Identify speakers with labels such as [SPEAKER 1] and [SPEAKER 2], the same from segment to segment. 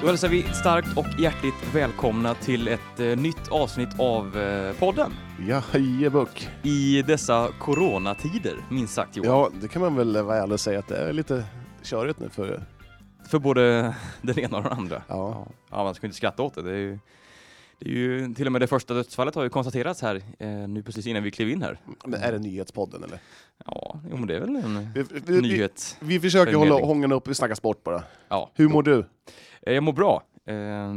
[SPEAKER 1] Då hälsar vi starkt och hjärtligt välkomna till ett eh, nytt avsnitt av eh, podden.
[SPEAKER 2] Ja, hejebuck.
[SPEAKER 1] I dessa coronatider, minst sagt Johan.
[SPEAKER 2] Ja, det kan man väl vara ärlig och säga att det är lite körigt nu för er.
[SPEAKER 1] För både den ena och den andra.
[SPEAKER 2] Ja.
[SPEAKER 1] Ja, man ska ju inte skratta åt det. Det är, ju, det är ju till och med det första dödsfallet har ju konstaterats här eh, nu precis innan vi klev in här.
[SPEAKER 2] Men är det nyhetspodden eller?
[SPEAKER 1] Ja, jo, men det är väl en
[SPEAKER 2] Vi, vi, vi,
[SPEAKER 1] nyhet.
[SPEAKER 2] vi försöker
[SPEAKER 1] Förmedling.
[SPEAKER 2] hålla hångarna uppe, vi snackar sport bara.
[SPEAKER 1] Ja.
[SPEAKER 2] Hur mår du?
[SPEAKER 1] Eh, Jag mår bra. Eh,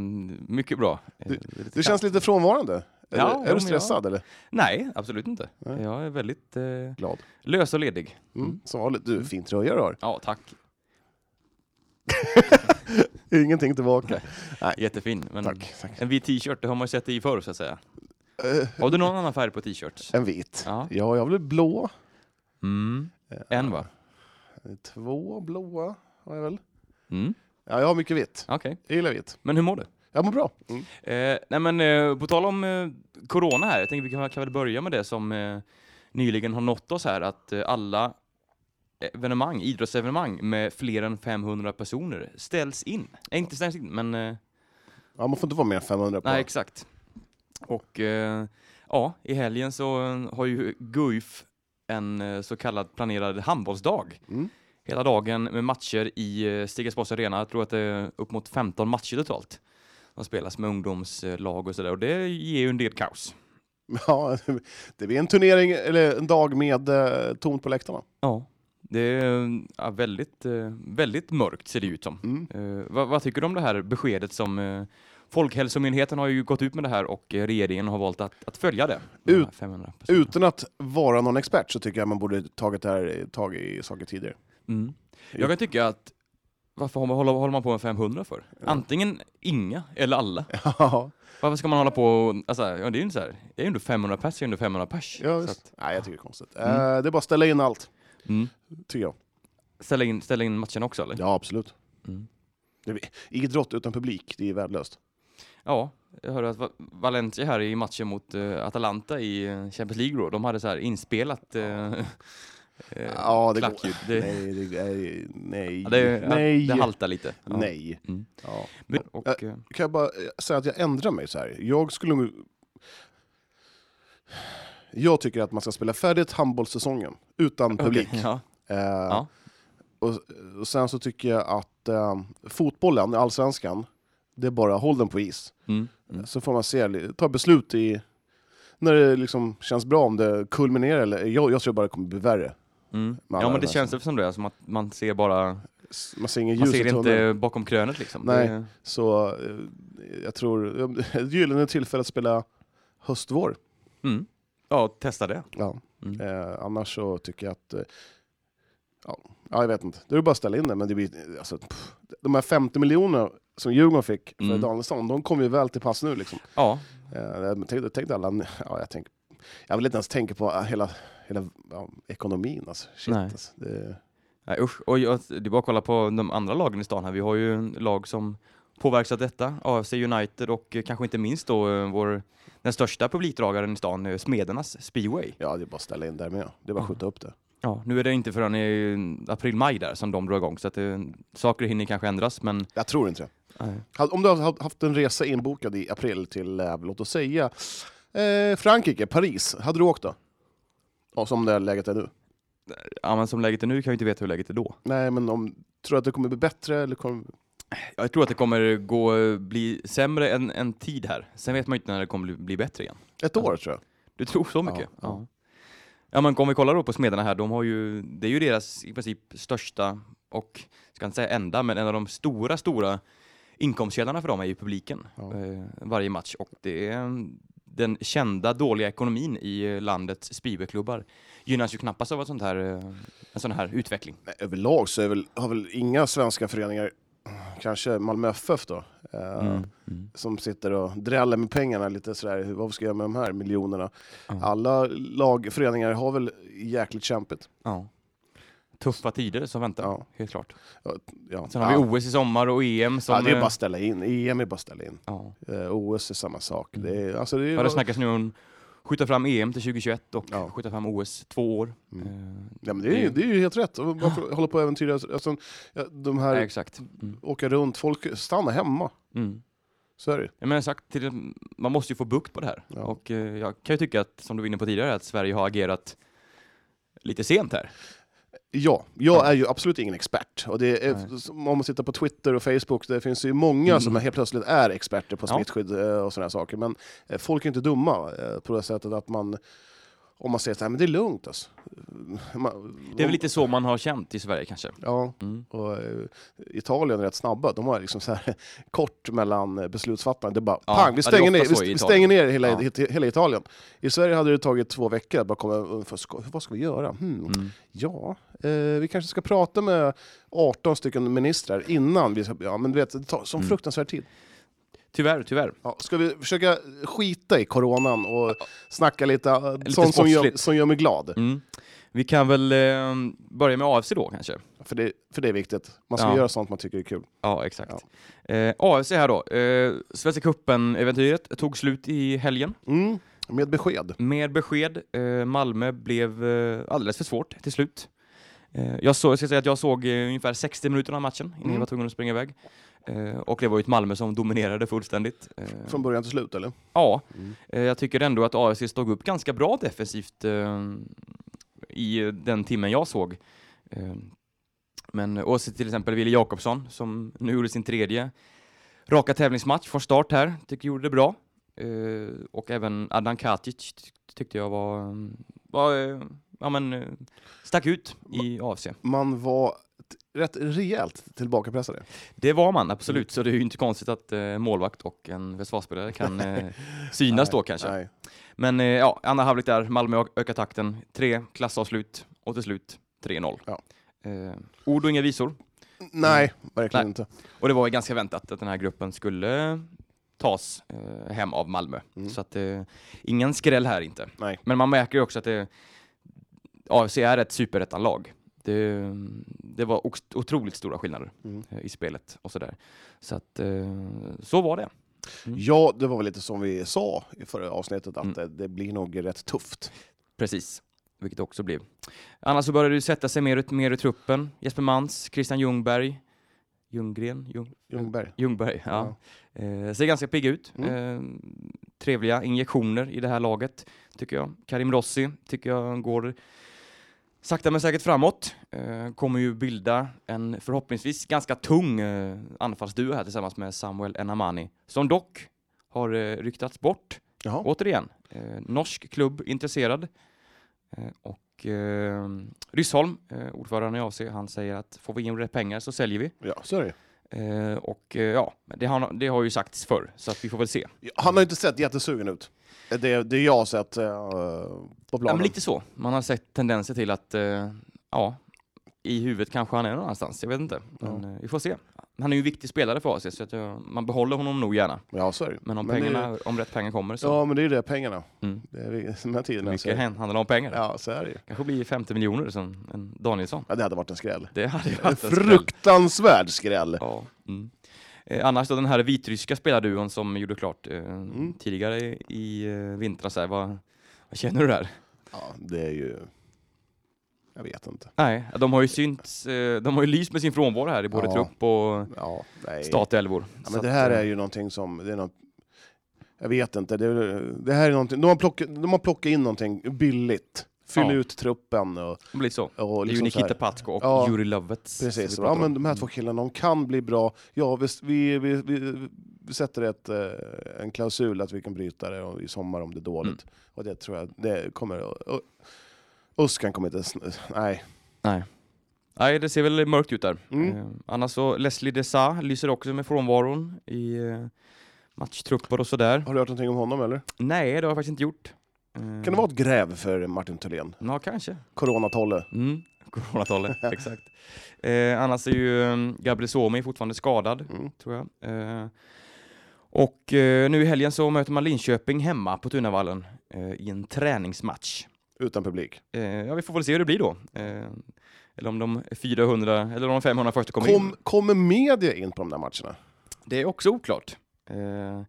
[SPEAKER 1] mycket bra. Eh, lite
[SPEAKER 2] Du känns lite frånvarande. Är,
[SPEAKER 1] Ja,
[SPEAKER 2] du-
[SPEAKER 1] jo, men
[SPEAKER 2] är du
[SPEAKER 1] jag-
[SPEAKER 2] stressad eller?
[SPEAKER 1] Nej, absolut inte.
[SPEAKER 2] Nej.
[SPEAKER 1] Jag är väldigt eh,
[SPEAKER 2] Glad.
[SPEAKER 1] lös och ledig.
[SPEAKER 2] Mm. Som vanligt. Du, fin tröja du har.
[SPEAKER 1] Ja, tack.
[SPEAKER 2] Ingenting tillbaka.
[SPEAKER 1] Mm. Jättefin. Men
[SPEAKER 2] Tack. Tack.
[SPEAKER 1] En vit t-shirt, det har man ju sett i förr så att säga.
[SPEAKER 2] Eh,
[SPEAKER 1] Har du någon annan färg på t-shirts?
[SPEAKER 2] en vit.
[SPEAKER 1] Ja.
[SPEAKER 2] Ja, jag blev blå.
[SPEAKER 1] Mm. En va?
[SPEAKER 2] Två blåa har jag väl.
[SPEAKER 1] Mm.
[SPEAKER 2] Ja, jag har mycket vitt.
[SPEAKER 1] Okej,
[SPEAKER 2] Jag gillar vitt.
[SPEAKER 1] men hur mår du?
[SPEAKER 2] Jag mår bra. Mm.
[SPEAKER 1] Eh, nej men eh, på tal om eh, corona här, jag tänker vi kan, kan väl börja med det som eh, nyligen har nått oss här, att eh, alla evenemang, idrottsevenemang med fler än 500 personer ställs in. Eh, inte ställs in, men eh,
[SPEAKER 2] Ja, man får inte vara mer än 500 på.
[SPEAKER 1] nej exakt. Och eh, ja, i helgen så eh, har ju Guif en eh, så kallad planerad handbollsdag.
[SPEAKER 2] Mm.
[SPEAKER 1] hela dagen med matcher i eh, Stiga Arena. Jag tror att det är upp mot 15 matcher totalt. De spelas med ungdomslag och sådär och det ger ju en del kaos.
[SPEAKER 2] Ja, det blir en turnering, eller en dag med eh, tomt på läktarna.
[SPEAKER 1] Ja. Det är eh, ja, väldigt, eh, väldigt mörkt ser det ut som.
[SPEAKER 2] Mm.
[SPEAKER 1] Eh, vad, vad tycker du om det här beskedet som eh, Folkhälsomyndigheten har ju gått ut med det här och eh, regeringen har valt att, att följa det. med
[SPEAKER 2] Ut-
[SPEAKER 1] de här 500 personerna.
[SPEAKER 2] Utan att vara någon expert så tycker jag man borde tagit det här, eh, tag i saker tidigare.
[SPEAKER 1] Mm. Jag kan tycka att varför har man- håller, håller man på med 500 för? Antingen inga eller alla.
[SPEAKER 2] ja,
[SPEAKER 1] Varför ska man hålla på och, alltså, ja, det är ju inte så här, det är ju ändå 500 pers, det är ju ändå 500 pers. Så att,
[SPEAKER 2] visst. Nej, jag tycker det är konstigt. Eh, det är bara att ställa in allt,
[SPEAKER 1] mm.
[SPEAKER 2] tycker jag.
[SPEAKER 1] ställa, in, ställa in matchen också eller?
[SPEAKER 2] Ja, absolut.
[SPEAKER 1] Mm.
[SPEAKER 2] Det blir- Idrott utan publik, det är värdelöst.
[SPEAKER 1] Ja, jag hörde att Va- Valencia här i matchen mot eh, Atalanta i eh, Champions League då, de hade så här inspelat eh, eh,
[SPEAKER 2] Ja, det går-
[SPEAKER 1] klackljud. Det,
[SPEAKER 2] Nej, det, nej, nej,
[SPEAKER 1] ja, det,
[SPEAKER 2] nej.
[SPEAKER 1] Ja, det haltar lite. Ja.
[SPEAKER 2] nej.
[SPEAKER 1] Mm.
[SPEAKER 2] Ja.
[SPEAKER 1] Men, och, eh,
[SPEAKER 2] kan jag bara eh, säga att jag ändrar mig så här. Jag skulle nog... Jag tycker att man ska spela färdigt handbollssäsongen utan publik.
[SPEAKER 1] okej, ja.
[SPEAKER 2] Eh,
[SPEAKER 1] Ja.
[SPEAKER 2] och, och sen så tycker jag att eh, fotbollen, allsvenskan, det är bara håll den på is.
[SPEAKER 1] Mm. Mm.
[SPEAKER 2] Så får man se, ta beslut i när det liksom känns bra, om det kulminerar eller... Jag, jag tror bara det kommer bli värre.
[SPEAKER 1] Mm.
[SPEAKER 2] alla
[SPEAKER 1] Ja men det
[SPEAKER 2] de här
[SPEAKER 1] känns väl som det, som att man ser bara,
[SPEAKER 2] S- Man ser ingen
[SPEAKER 1] man
[SPEAKER 2] ljus i
[SPEAKER 1] ser
[SPEAKER 2] tunneln.
[SPEAKER 1] inte bakom krönet liksom.
[SPEAKER 2] Nej.
[SPEAKER 1] Det,
[SPEAKER 2] Så eh, jag tror... Ett gyllene tillfälle att spela höst-vår.
[SPEAKER 1] mm. Ja, testa det.
[SPEAKER 2] Ja.
[SPEAKER 1] Mm.
[SPEAKER 2] Eh, annars så tycker jag att... Eh, ja, ja, jag vet inte. Det är bara att ställa in det. Men det blir, alltså, pff, de här 50 miljoner som Djurgården fick för
[SPEAKER 1] Mm.
[SPEAKER 2] Danielsson, de kommer ju väl till pass nu. Liksom.
[SPEAKER 1] Ja,
[SPEAKER 2] Eh, men tänk, tänk alla, ja, jag, tänk, jag vill inte ens tänka på eh, hela, hela ja, ekonomin. Alltså. Shit,
[SPEAKER 1] Nej.
[SPEAKER 2] alltså. Det,
[SPEAKER 1] Nej usch, och jag, det är bara att kolla på de andra lagen i stan här. Vi har ju lag som påverkas av detta. AFC United och eh, kanske inte minst då eh, vår, den största publikdragaren i stan, eh, Smedernas Speedway.
[SPEAKER 2] ja, det är bara att ställa in där med. Det
[SPEAKER 1] Mm.
[SPEAKER 2] är bara att skjuta upp det.
[SPEAKER 1] Ja, nu är det inte förrän i april-maj där som de drar igång, så att eh, saker hinner kanske ändras, men
[SPEAKER 2] Jag tror inte det.
[SPEAKER 1] nej.
[SPEAKER 2] Ha- Om du har ha- haft en resa inbokad i april till, eh, låt oss säga, eh, Frankrike, Paris. Hade du åkt då? Ja, som det här läget är nu.
[SPEAKER 1] ja, men som läget är nu kan vi inte veta hur läget är då.
[SPEAKER 2] Nej, men om, tror du att det kommer bli bättre? Eller kommer,
[SPEAKER 1] Jag tror att det kommer gå, eh, bli sämre än en tid här. Sen vet man ju inte när det kommer bli, bli bättre igen.
[SPEAKER 2] ett år tror jag.
[SPEAKER 1] Du tror så mycket?
[SPEAKER 2] Ja, ja.
[SPEAKER 1] Ja, men om vi kollar då på Smederna här, de har ju, det är ju deras i princip största och, ska inte säga enda, men en av de stora, stora inkomstkällorna för dem är ju publiken
[SPEAKER 2] Ja.
[SPEAKER 1] eh, varje match och det är mm, den kända dåliga ekonomin i eh, landets speedwayklubbar gynnas ju knappast av ett sånt här, eh, en sån här utveckling.
[SPEAKER 2] Nej, överlag så är väl, har väl inga svenska föreningar, kanske Malmö FF då, eh,
[SPEAKER 1] Mm,
[SPEAKER 2] som sitter och dräller med pengarna lite sådär, hur- vad ska jag göra med de här miljonerna?
[SPEAKER 1] Ja.
[SPEAKER 2] Alla lag, föreningar har väl jäkligt kämpigt.
[SPEAKER 1] Ja. Tuffa tider som väntar,
[SPEAKER 2] Ja.
[SPEAKER 1] helt klart.
[SPEAKER 2] Ja.
[SPEAKER 1] Sen har
[SPEAKER 2] ja.
[SPEAKER 1] vi OS i sommar och EM som...
[SPEAKER 2] ja, det är
[SPEAKER 1] eh,
[SPEAKER 2] bara att ställa in. EM är bara att ställa in.
[SPEAKER 1] ja.
[SPEAKER 2] Eh, OS är samma sak.
[SPEAKER 1] Mm.
[SPEAKER 2] Det är, alltså det är
[SPEAKER 1] Ja, det snackas nu om skjuta fram EM till 2021 och
[SPEAKER 2] Ja.
[SPEAKER 1] skjuta fram OS två år.
[SPEAKER 2] Mm.
[SPEAKER 1] Eh,
[SPEAKER 2] Ja, men det, är ju,
[SPEAKER 1] Det-
[SPEAKER 2] det är ju helt rätt. Och Varför hålla på och äventyra? Alltså, ja, de här,
[SPEAKER 1] ja, exakt. Mm.
[SPEAKER 2] åka runt, folk stanna hemma.
[SPEAKER 1] Mm.
[SPEAKER 2] Så är det ju.
[SPEAKER 1] Ja, men sagt, till, man måste ju få bukt på det här.
[SPEAKER 2] Ja.
[SPEAKER 1] Och eh, jag kan ju tycka att, som du var inne på tidigare, att Sverige har agerat lite sent här.
[SPEAKER 2] Ja, jag är ju absolut ingen expert. Och det är,
[SPEAKER 1] Nej.
[SPEAKER 2] som om man tittar på Twitter och Facebook, det finns ju många
[SPEAKER 1] Mm.
[SPEAKER 2] som helt plötsligt är experter på
[SPEAKER 1] Ja.
[SPEAKER 2] smittskydd eh, och sådana saker. Men eh, folk är inte dumma eh, på det sättet att man, om man säger så här, men det är lugnt alltså. Man,
[SPEAKER 1] Det är väl lite så man har känt i Sverige kanske.
[SPEAKER 2] Ja,
[SPEAKER 1] Mm.
[SPEAKER 2] och eh, Italien är rätt snabba. De har liksom så här kort mellan eh, beslutsfattarna. Det är bara
[SPEAKER 1] Ja,
[SPEAKER 2] pang, vi
[SPEAKER 1] ja, det är
[SPEAKER 2] stänger,
[SPEAKER 1] ofta
[SPEAKER 2] ner, vi,
[SPEAKER 1] så i
[SPEAKER 2] st- vi
[SPEAKER 1] Italien.
[SPEAKER 2] stänger ner hela,
[SPEAKER 1] Ja.
[SPEAKER 2] he- hela Italien. I Sverige hade det tagit två veckor att bara komma ungefär, "Ska- vad ska vi göra? Hmm.
[SPEAKER 1] Mm.
[SPEAKER 2] Ja, eh, vi kanske ska prata med 18 stycken ministrar innan vi... Ja, men du vet, det tar sån
[SPEAKER 1] Mm.
[SPEAKER 2] fruktansvärd tid.
[SPEAKER 1] Tyvärr, tyvärr.
[SPEAKER 2] Ja, ska vi försöka skita i coronan och snacka lite, eh, sånt som gör,
[SPEAKER 1] sportsligt.
[SPEAKER 2] som gör mig glad?
[SPEAKER 1] Mm. Vi kan väl eh, börja med AFC då kanske.
[SPEAKER 2] För, det, för det är viktigt. Man ska
[SPEAKER 1] Ja.
[SPEAKER 2] göra sånt man tycker är kul.
[SPEAKER 1] Ja, exakt. Eh, AFC här då. Eh, Svenska cupen-äventyret tog slut i helgen.
[SPEAKER 2] Mm, med besked.
[SPEAKER 1] Mer besked. Eh, Malmö blev eh, alldeles för svårt till slut. Eh, jag, så, jag ska säga att jag såg eh, ungefär 60 minuter av matchen innan
[SPEAKER 2] Mm.
[SPEAKER 1] jag var tvungen att springa iväg. Eh, och det var ju ett Malmö som dominerade fullständigt. Eh,
[SPEAKER 2] Från början till slut, eller?
[SPEAKER 1] ja,
[SPEAKER 2] Mm.
[SPEAKER 1] eh, jag tycker ändå att AFC stod upp ganska bra defensivt eh, i eh, den timmen jag såg. Eh, men och så till exempel Wille Jakobsson som nu gjorde sin tredje raka tävlingsmatch från start här, tycker gjorde det bra. Eh, och även Adnan Katic ty- tyckte jag var, mm, var eh, ja, men, eh, stack ut i AFC.
[SPEAKER 2] Man var t- rätt rejält tillbakapressade.
[SPEAKER 1] Det var man absolut,
[SPEAKER 2] Mm.
[SPEAKER 1] så det är ju inte konstigt att eh, målvakt och en försvarsspelare kan eh, synas då kanske.
[SPEAKER 2] Nej.
[SPEAKER 1] Men eh, ja, andra halvlek där, Malmö ö- ökar takten. Tre klassavslut och till slut 3-0.
[SPEAKER 2] Ja.
[SPEAKER 1] Eh, ord och inga visor.
[SPEAKER 2] Nej, verkligen
[SPEAKER 1] Mm. Nej.
[SPEAKER 2] inte.
[SPEAKER 1] Och det var ju ganska väntat att den här gruppen skulle tas eh, hem av Malmö.
[SPEAKER 2] Mm.
[SPEAKER 1] Så att eh, ingen skräll här inte.
[SPEAKER 2] Nej.
[SPEAKER 1] Men man märker ju också att eh, det, AFC är ett superettanlag. Det, det var ox- otroligt stora skillnader
[SPEAKER 2] Mm.
[SPEAKER 1] eh, i spelet och sådär. Så att eh, så var det.
[SPEAKER 2] Ja, det var väl lite som vi sa i förra avsnittet, att
[SPEAKER 1] Mm.
[SPEAKER 2] det, det blir nog rätt tufft.
[SPEAKER 1] Precis, vilket det också blev. Annars så började det sätta sig mer, ut- mer i truppen. Jesper Mans, Christian Ljungberg, Ljunggren, Ljung,
[SPEAKER 2] Ljungberg.
[SPEAKER 1] Ljungberg, ja. Eh, ser ganska pigga ut. Eh, trevliga injektioner i det här laget, tycker jag. Karim Rossi tycker jag går sakta men säkert framåt. Eh, kommer ju bilda en förhoppningsvis ganska tung eh, anfallsduo här tillsammans med Samuel Enamani, som dock har eh, ryktats bort
[SPEAKER 2] Jaha.
[SPEAKER 1] Återigen, eh, norsk klubb intresserad. Eh, och eh, Ryssholm, eh, ordförande i AFC, han säger att får vi in rätt pengar så säljer vi.
[SPEAKER 2] Ja, så är det.
[SPEAKER 1] Eh, och eh, ja, men det har, det har ju sagts förr, så att vi får väl se.
[SPEAKER 2] Ja, Han har ju inte sett jättesugen ut. Det, det jag har sett eh, på
[SPEAKER 1] Ja,
[SPEAKER 2] planen.
[SPEAKER 1] men lite så. Man har sett tendenser till att, eh, ja, i huvudet kanske han är någon annanstans. Jag vet inte. Men eh, vi får se. Han är ju en viktig spelare för AFC, så att, eh, man behåller honom nog gärna.
[SPEAKER 2] Ja, så är det.
[SPEAKER 1] Men om,
[SPEAKER 2] det-
[SPEAKER 1] pengarna, om rätt pengar kommer så.
[SPEAKER 2] eh, Ja, men det är ju det, pengarna.
[SPEAKER 1] Mm.
[SPEAKER 2] Det är vi- den här tiden.
[SPEAKER 1] mycket handlar om pengar.
[SPEAKER 2] Ja, så är det ju.
[SPEAKER 1] Kanske blir 50 miljoner som en Danielsson.
[SPEAKER 2] Ja, det hade varit en skräll.
[SPEAKER 1] Det hade ju
[SPEAKER 2] En
[SPEAKER 1] varit en skräll.
[SPEAKER 2] fruktansvärd skräll!
[SPEAKER 1] Ja. Mm. Eh, annars då den här vitryska spelarduon som gjorde klart eh,
[SPEAKER 2] Mm.
[SPEAKER 1] tidigare i, i eh, vintras, här, vad, vad känner du där?
[SPEAKER 2] Ja, det är ju... Jag vet inte.
[SPEAKER 1] Nej, de har ju synts, eh, de har ju lyst med sin frånvaro här i både
[SPEAKER 2] Ja.
[SPEAKER 1] trupp och
[SPEAKER 2] Ja, nej.
[SPEAKER 1] statälvor.
[SPEAKER 2] Ja, men det här
[SPEAKER 1] eh,
[SPEAKER 2] är ju någonting som... Det är något, jag vet inte. Det, är- det här är någonting, de, har plockat, de har plockat in någonting billigt. Fyll
[SPEAKER 1] Ja.
[SPEAKER 2] ut truppen och...
[SPEAKER 1] Det blir så.
[SPEAKER 2] och
[SPEAKER 1] Det är
[SPEAKER 2] liksom
[SPEAKER 1] ju
[SPEAKER 2] så här.
[SPEAKER 1] Nikita Patsko och
[SPEAKER 2] Ja,
[SPEAKER 1] Juri Lovets. eh,
[SPEAKER 2] Precis, ja, men de här
[SPEAKER 1] Mm.
[SPEAKER 2] två killarna de kan bli bra. Ja, vi, vi, vi, vi, vi sätter ett, eh, en klausul att vi kan bryta det om- i sommar om det är dåligt.
[SPEAKER 1] Mm.
[SPEAKER 2] Och det tror jag, det kommer... och- Uskan kommer inte... sn- Nej.
[SPEAKER 1] Mm. Nej, det ser väl mörkt ut där.
[SPEAKER 2] Mm.
[SPEAKER 1] Eh, annars så, Leslie Desa lyser också med frånvaron i eh, matchtrupper och sådär.
[SPEAKER 2] Har du hört någonting om honom eller?
[SPEAKER 1] Nej, det har jag faktiskt inte gjort. Eh,
[SPEAKER 2] Kan
[SPEAKER 1] Mm.
[SPEAKER 2] det vara ett gräv för Martin Thulén?
[SPEAKER 1] Ja, kanske.
[SPEAKER 2] Coronatolle.
[SPEAKER 1] Mm, coronatolle, exakt. Eh, annars är ju eh, Gabriel Suomi fortfarande skadad,
[SPEAKER 2] Mm.
[SPEAKER 1] tror jag. Eh, och eh, nu i helgen så möter man Linköping hemma på Tunavallen eh, i en träningsmatch.
[SPEAKER 2] Utan publik.
[SPEAKER 1] Eh, ja, vi får väl se hur det blir då. Eh, eller om de 400, eller om de 500 första kommer in.
[SPEAKER 2] Kom, kommer media in på de där matcherna?
[SPEAKER 1] Det är också oklart. Eh,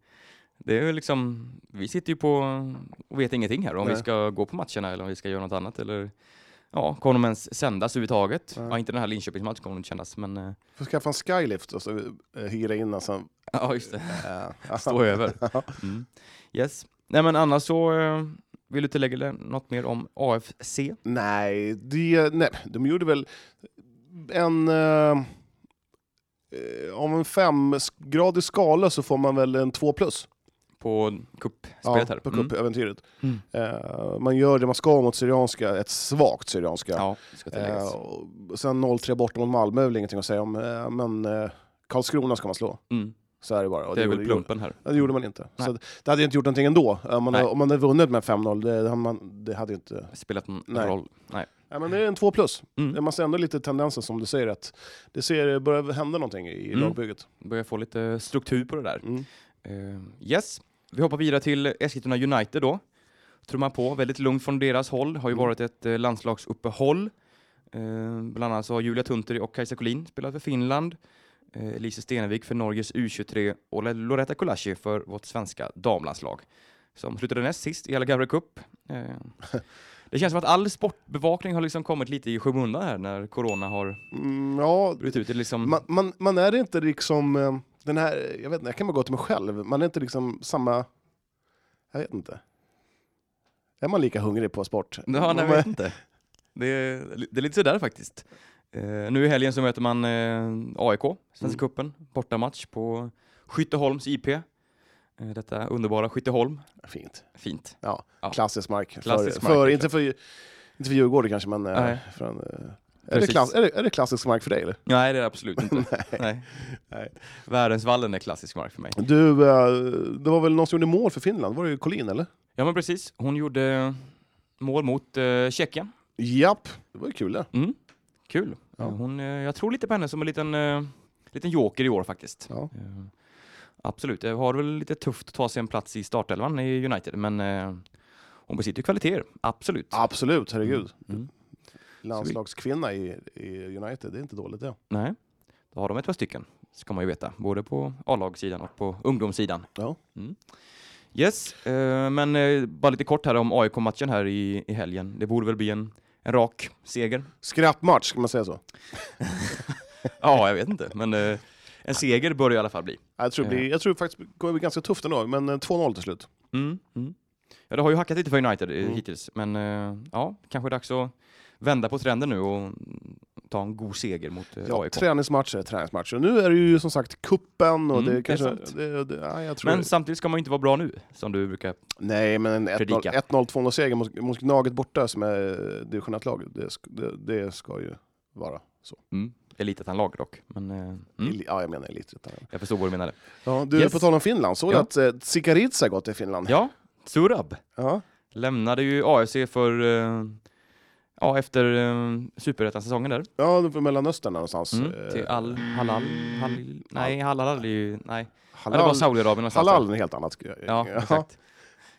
[SPEAKER 1] Det är ju liksom, vi sitter ju på och vet ingenting här om vi
[SPEAKER 2] Nej.
[SPEAKER 1] ska gå på matcherna eller om vi ska göra något annat eller ja, kommer de ens sändas överhuvudtaget?
[SPEAKER 2] Nej.
[SPEAKER 1] Ja, inte den här Linköpingsmatchen kommer de inte kännas, men eh,
[SPEAKER 2] Får skaffa en skylift och så eh, hyra in alltså.
[SPEAKER 1] ja, just det.
[SPEAKER 2] Äh,
[SPEAKER 1] Stå över. Mm. Yes. Nej, men annars så eh, vill du tillägga något mer om AFC?
[SPEAKER 2] Nej, det, nej, de gjorde väl en... Eh, eh, om en femgradig skala så får man väl en två plus.
[SPEAKER 1] på kuppspelet här.
[SPEAKER 2] på
[SPEAKER 1] Mm.
[SPEAKER 2] cupäventyret.
[SPEAKER 1] Mm.
[SPEAKER 2] Eh, man gör det man ska mot Syrianska, ett svagt Syrianska.
[SPEAKER 1] Ja, det ska tilläggas.
[SPEAKER 2] Eh, och sen 0-3 borta mot Malmö är väl ingenting att säga om, eh, men eh, Karlskrona ska man slå.
[SPEAKER 1] Mm.
[SPEAKER 2] Så är det bara. Och
[SPEAKER 1] Det är
[SPEAKER 2] gjorde-
[SPEAKER 1] väl plumpen här.
[SPEAKER 2] Ja, Det gjorde man inte.
[SPEAKER 1] Nej.
[SPEAKER 2] Så att- det hade ju inte gjort någonting ändå. Om man,
[SPEAKER 1] Nej.
[SPEAKER 2] om man hade vunnit med 5-0, det, hade man- det hade ju inte...
[SPEAKER 1] Spelat någon
[SPEAKER 2] Nej.
[SPEAKER 1] roll. Nej.
[SPEAKER 2] Nej, men det är en 2 plus.
[SPEAKER 1] Mm.
[SPEAKER 2] Man ser ändå lite tendenser som du säger att det ser, börjar hända någonting i
[SPEAKER 1] Mm.
[SPEAKER 2] lagbygget.
[SPEAKER 1] Börjar få lite struktur på det där.
[SPEAKER 2] Mm.
[SPEAKER 1] Eh, yes, vi hoppar vidare till Eskilstuna United då. Trummar på, väldigt lugnt från deras håll. Har ju
[SPEAKER 2] Mm.
[SPEAKER 1] varit ett eh, landslagsuppehåll. Eh, bland annat så har Julia Tunteri och Kajsa Collin spelat för Finland. Eh, Elise Stenevik för Norges U23 och Le- Loretta Kolashi för vårt svenska damlandslag. Som slutade näst sist i hela Gavre Cup. Eh, det känns som att all sportbevakning har liksom kommit lite i skymundan här när corona har
[SPEAKER 2] Mm, ja,
[SPEAKER 1] brutit ut. Det är liksom,
[SPEAKER 2] man, man, man är inte liksom eh, den här, jag vet inte, jag kan bara gå till mig själv. Man är inte liksom samma, jag vet inte. Är man lika hungrig på sport?
[SPEAKER 1] Ja, nej,
[SPEAKER 2] man,
[SPEAKER 1] jag vet inte. Det är, det är lite sådär faktiskt. Eh, nu i helgen så möter man eh, AIK, Svenska
[SPEAKER 2] Mm.
[SPEAKER 1] cupen, bortamatch på Skytteholms IP. Eh, detta underbara Skytteholm.
[SPEAKER 2] Fint.
[SPEAKER 1] Fint. Ja.
[SPEAKER 2] Klassisk mark. liksom.
[SPEAKER 1] Klassisk
[SPEAKER 2] för,
[SPEAKER 1] mark,
[SPEAKER 2] för,
[SPEAKER 1] det är
[SPEAKER 2] inte, för, inte för Djurgården kanske, men eh,
[SPEAKER 1] Nej.
[SPEAKER 2] från, eh, är, det
[SPEAKER 1] Precis.
[SPEAKER 2] klass, är, det, är det klassisk mark för dig? Eller?
[SPEAKER 1] Nej, det är det absolut inte. nej.
[SPEAKER 2] Nej.
[SPEAKER 1] Värensvallen är klassisk mark för mig.
[SPEAKER 2] Du, eh, det var väl någon som gjorde mål för Finland? Var det Collin eller?
[SPEAKER 1] Ja, men precis. Hon gjorde mål mot eh, Tjeckien.
[SPEAKER 2] Japp, det var ju kul det.
[SPEAKER 1] Mm. Kul.
[SPEAKER 2] Ja.
[SPEAKER 1] Eh, Hon, eh, jag tror lite på henne som en liten, eh, liten joker i år faktiskt.
[SPEAKER 2] Ja.
[SPEAKER 1] Eh, Absolut, det har väl lite tufft att ta sig en plats i startelvan i United, men eh, hon besitter ju kvaliteter, absolut.
[SPEAKER 2] Absolut, herregud.
[SPEAKER 1] Mm.
[SPEAKER 2] Landslagskvinna i, i United, det är inte dåligt det.
[SPEAKER 1] Nej, då har de ett par stycken, ska man ju veta, både på A-lagssidan och på ungdomssidan.
[SPEAKER 2] Ja.
[SPEAKER 1] Mm. Yes, eh, men eh, bara lite kort här om AIK-matchen här i, i helgen. Det borde väl bli en, en rak seger?
[SPEAKER 2] Skrattmatch, ska man säga så?
[SPEAKER 1] ja, jag vet inte, men eh, en seger bör det i alla fall bli.
[SPEAKER 2] Jag tror, det blir, jag tror faktiskt det kommer bli ganska tufft ändå, men eh, 2-0 till slut.
[SPEAKER 1] Mm. Mm. Ja, det har ju hackat lite för United eh,
[SPEAKER 2] Mm.
[SPEAKER 1] hittills, men eh, ja, kanske dags att vända på trenden nu och mm, ta en god seger mot eh,
[SPEAKER 2] Ja,
[SPEAKER 1] AIK.
[SPEAKER 2] träningsmatcher, träningsmatcher. Nu är det ju som sagt kuppen och
[SPEAKER 1] Mm, det
[SPEAKER 2] det
[SPEAKER 1] är
[SPEAKER 2] kanske...
[SPEAKER 1] sant.
[SPEAKER 2] det, det, ja, jag tror
[SPEAKER 1] Men samtidigt ska man ju inte vara bra nu, som du brukar.
[SPEAKER 2] Nej, men en 1-0
[SPEAKER 1] Predika.
[SPEAKER 2] 1-0, 2-0 seger mot, mot Gnaget borta som är eh, division 1-lag, det, sk- det, det ska ju vara så.
[SPEAKER 1] Mm. Elitettan-lag dock, men eh, mm.
[SPEAKER 2] Eli- Ja, jag menar elitettan.
[SPEAKER 1] jag förstår vad du
[SPEAKER 2] Mm.
[SPEAKER 1] menade.
[SPEAKER 2] Ja, du,
[SPEAKER 1] Yes.
[SPEAKER 2] på tal om Finland, såg du
[SPEAKER 1] Ja.
[SPEAKER 2] att eh, Tsikaridze har gått till Finland?
[SPEAKER 1] Ja, Surab
[SPEAKER 2] Ja.
[SPEAKER 1] lämnade ju AFC för, eh, ja, efter eh, superettan-säsongen där.
[SPEAKER 2] Ja, det var Mellanöstern någonstans.
[SPEAKER 1] Mm. Till
[SPEAKER 2] Eh,
[SPEAKER 1] Al Halal, Halil, nej, Halal är ju, nej, Ja, det var
[SPEAKER 2] Halal,
[SPEAKER 1] Saudiarabien någonstans.
[SPEAKER 2] halal är en helt annat.
[SPEAKER 1] Ja, exakt.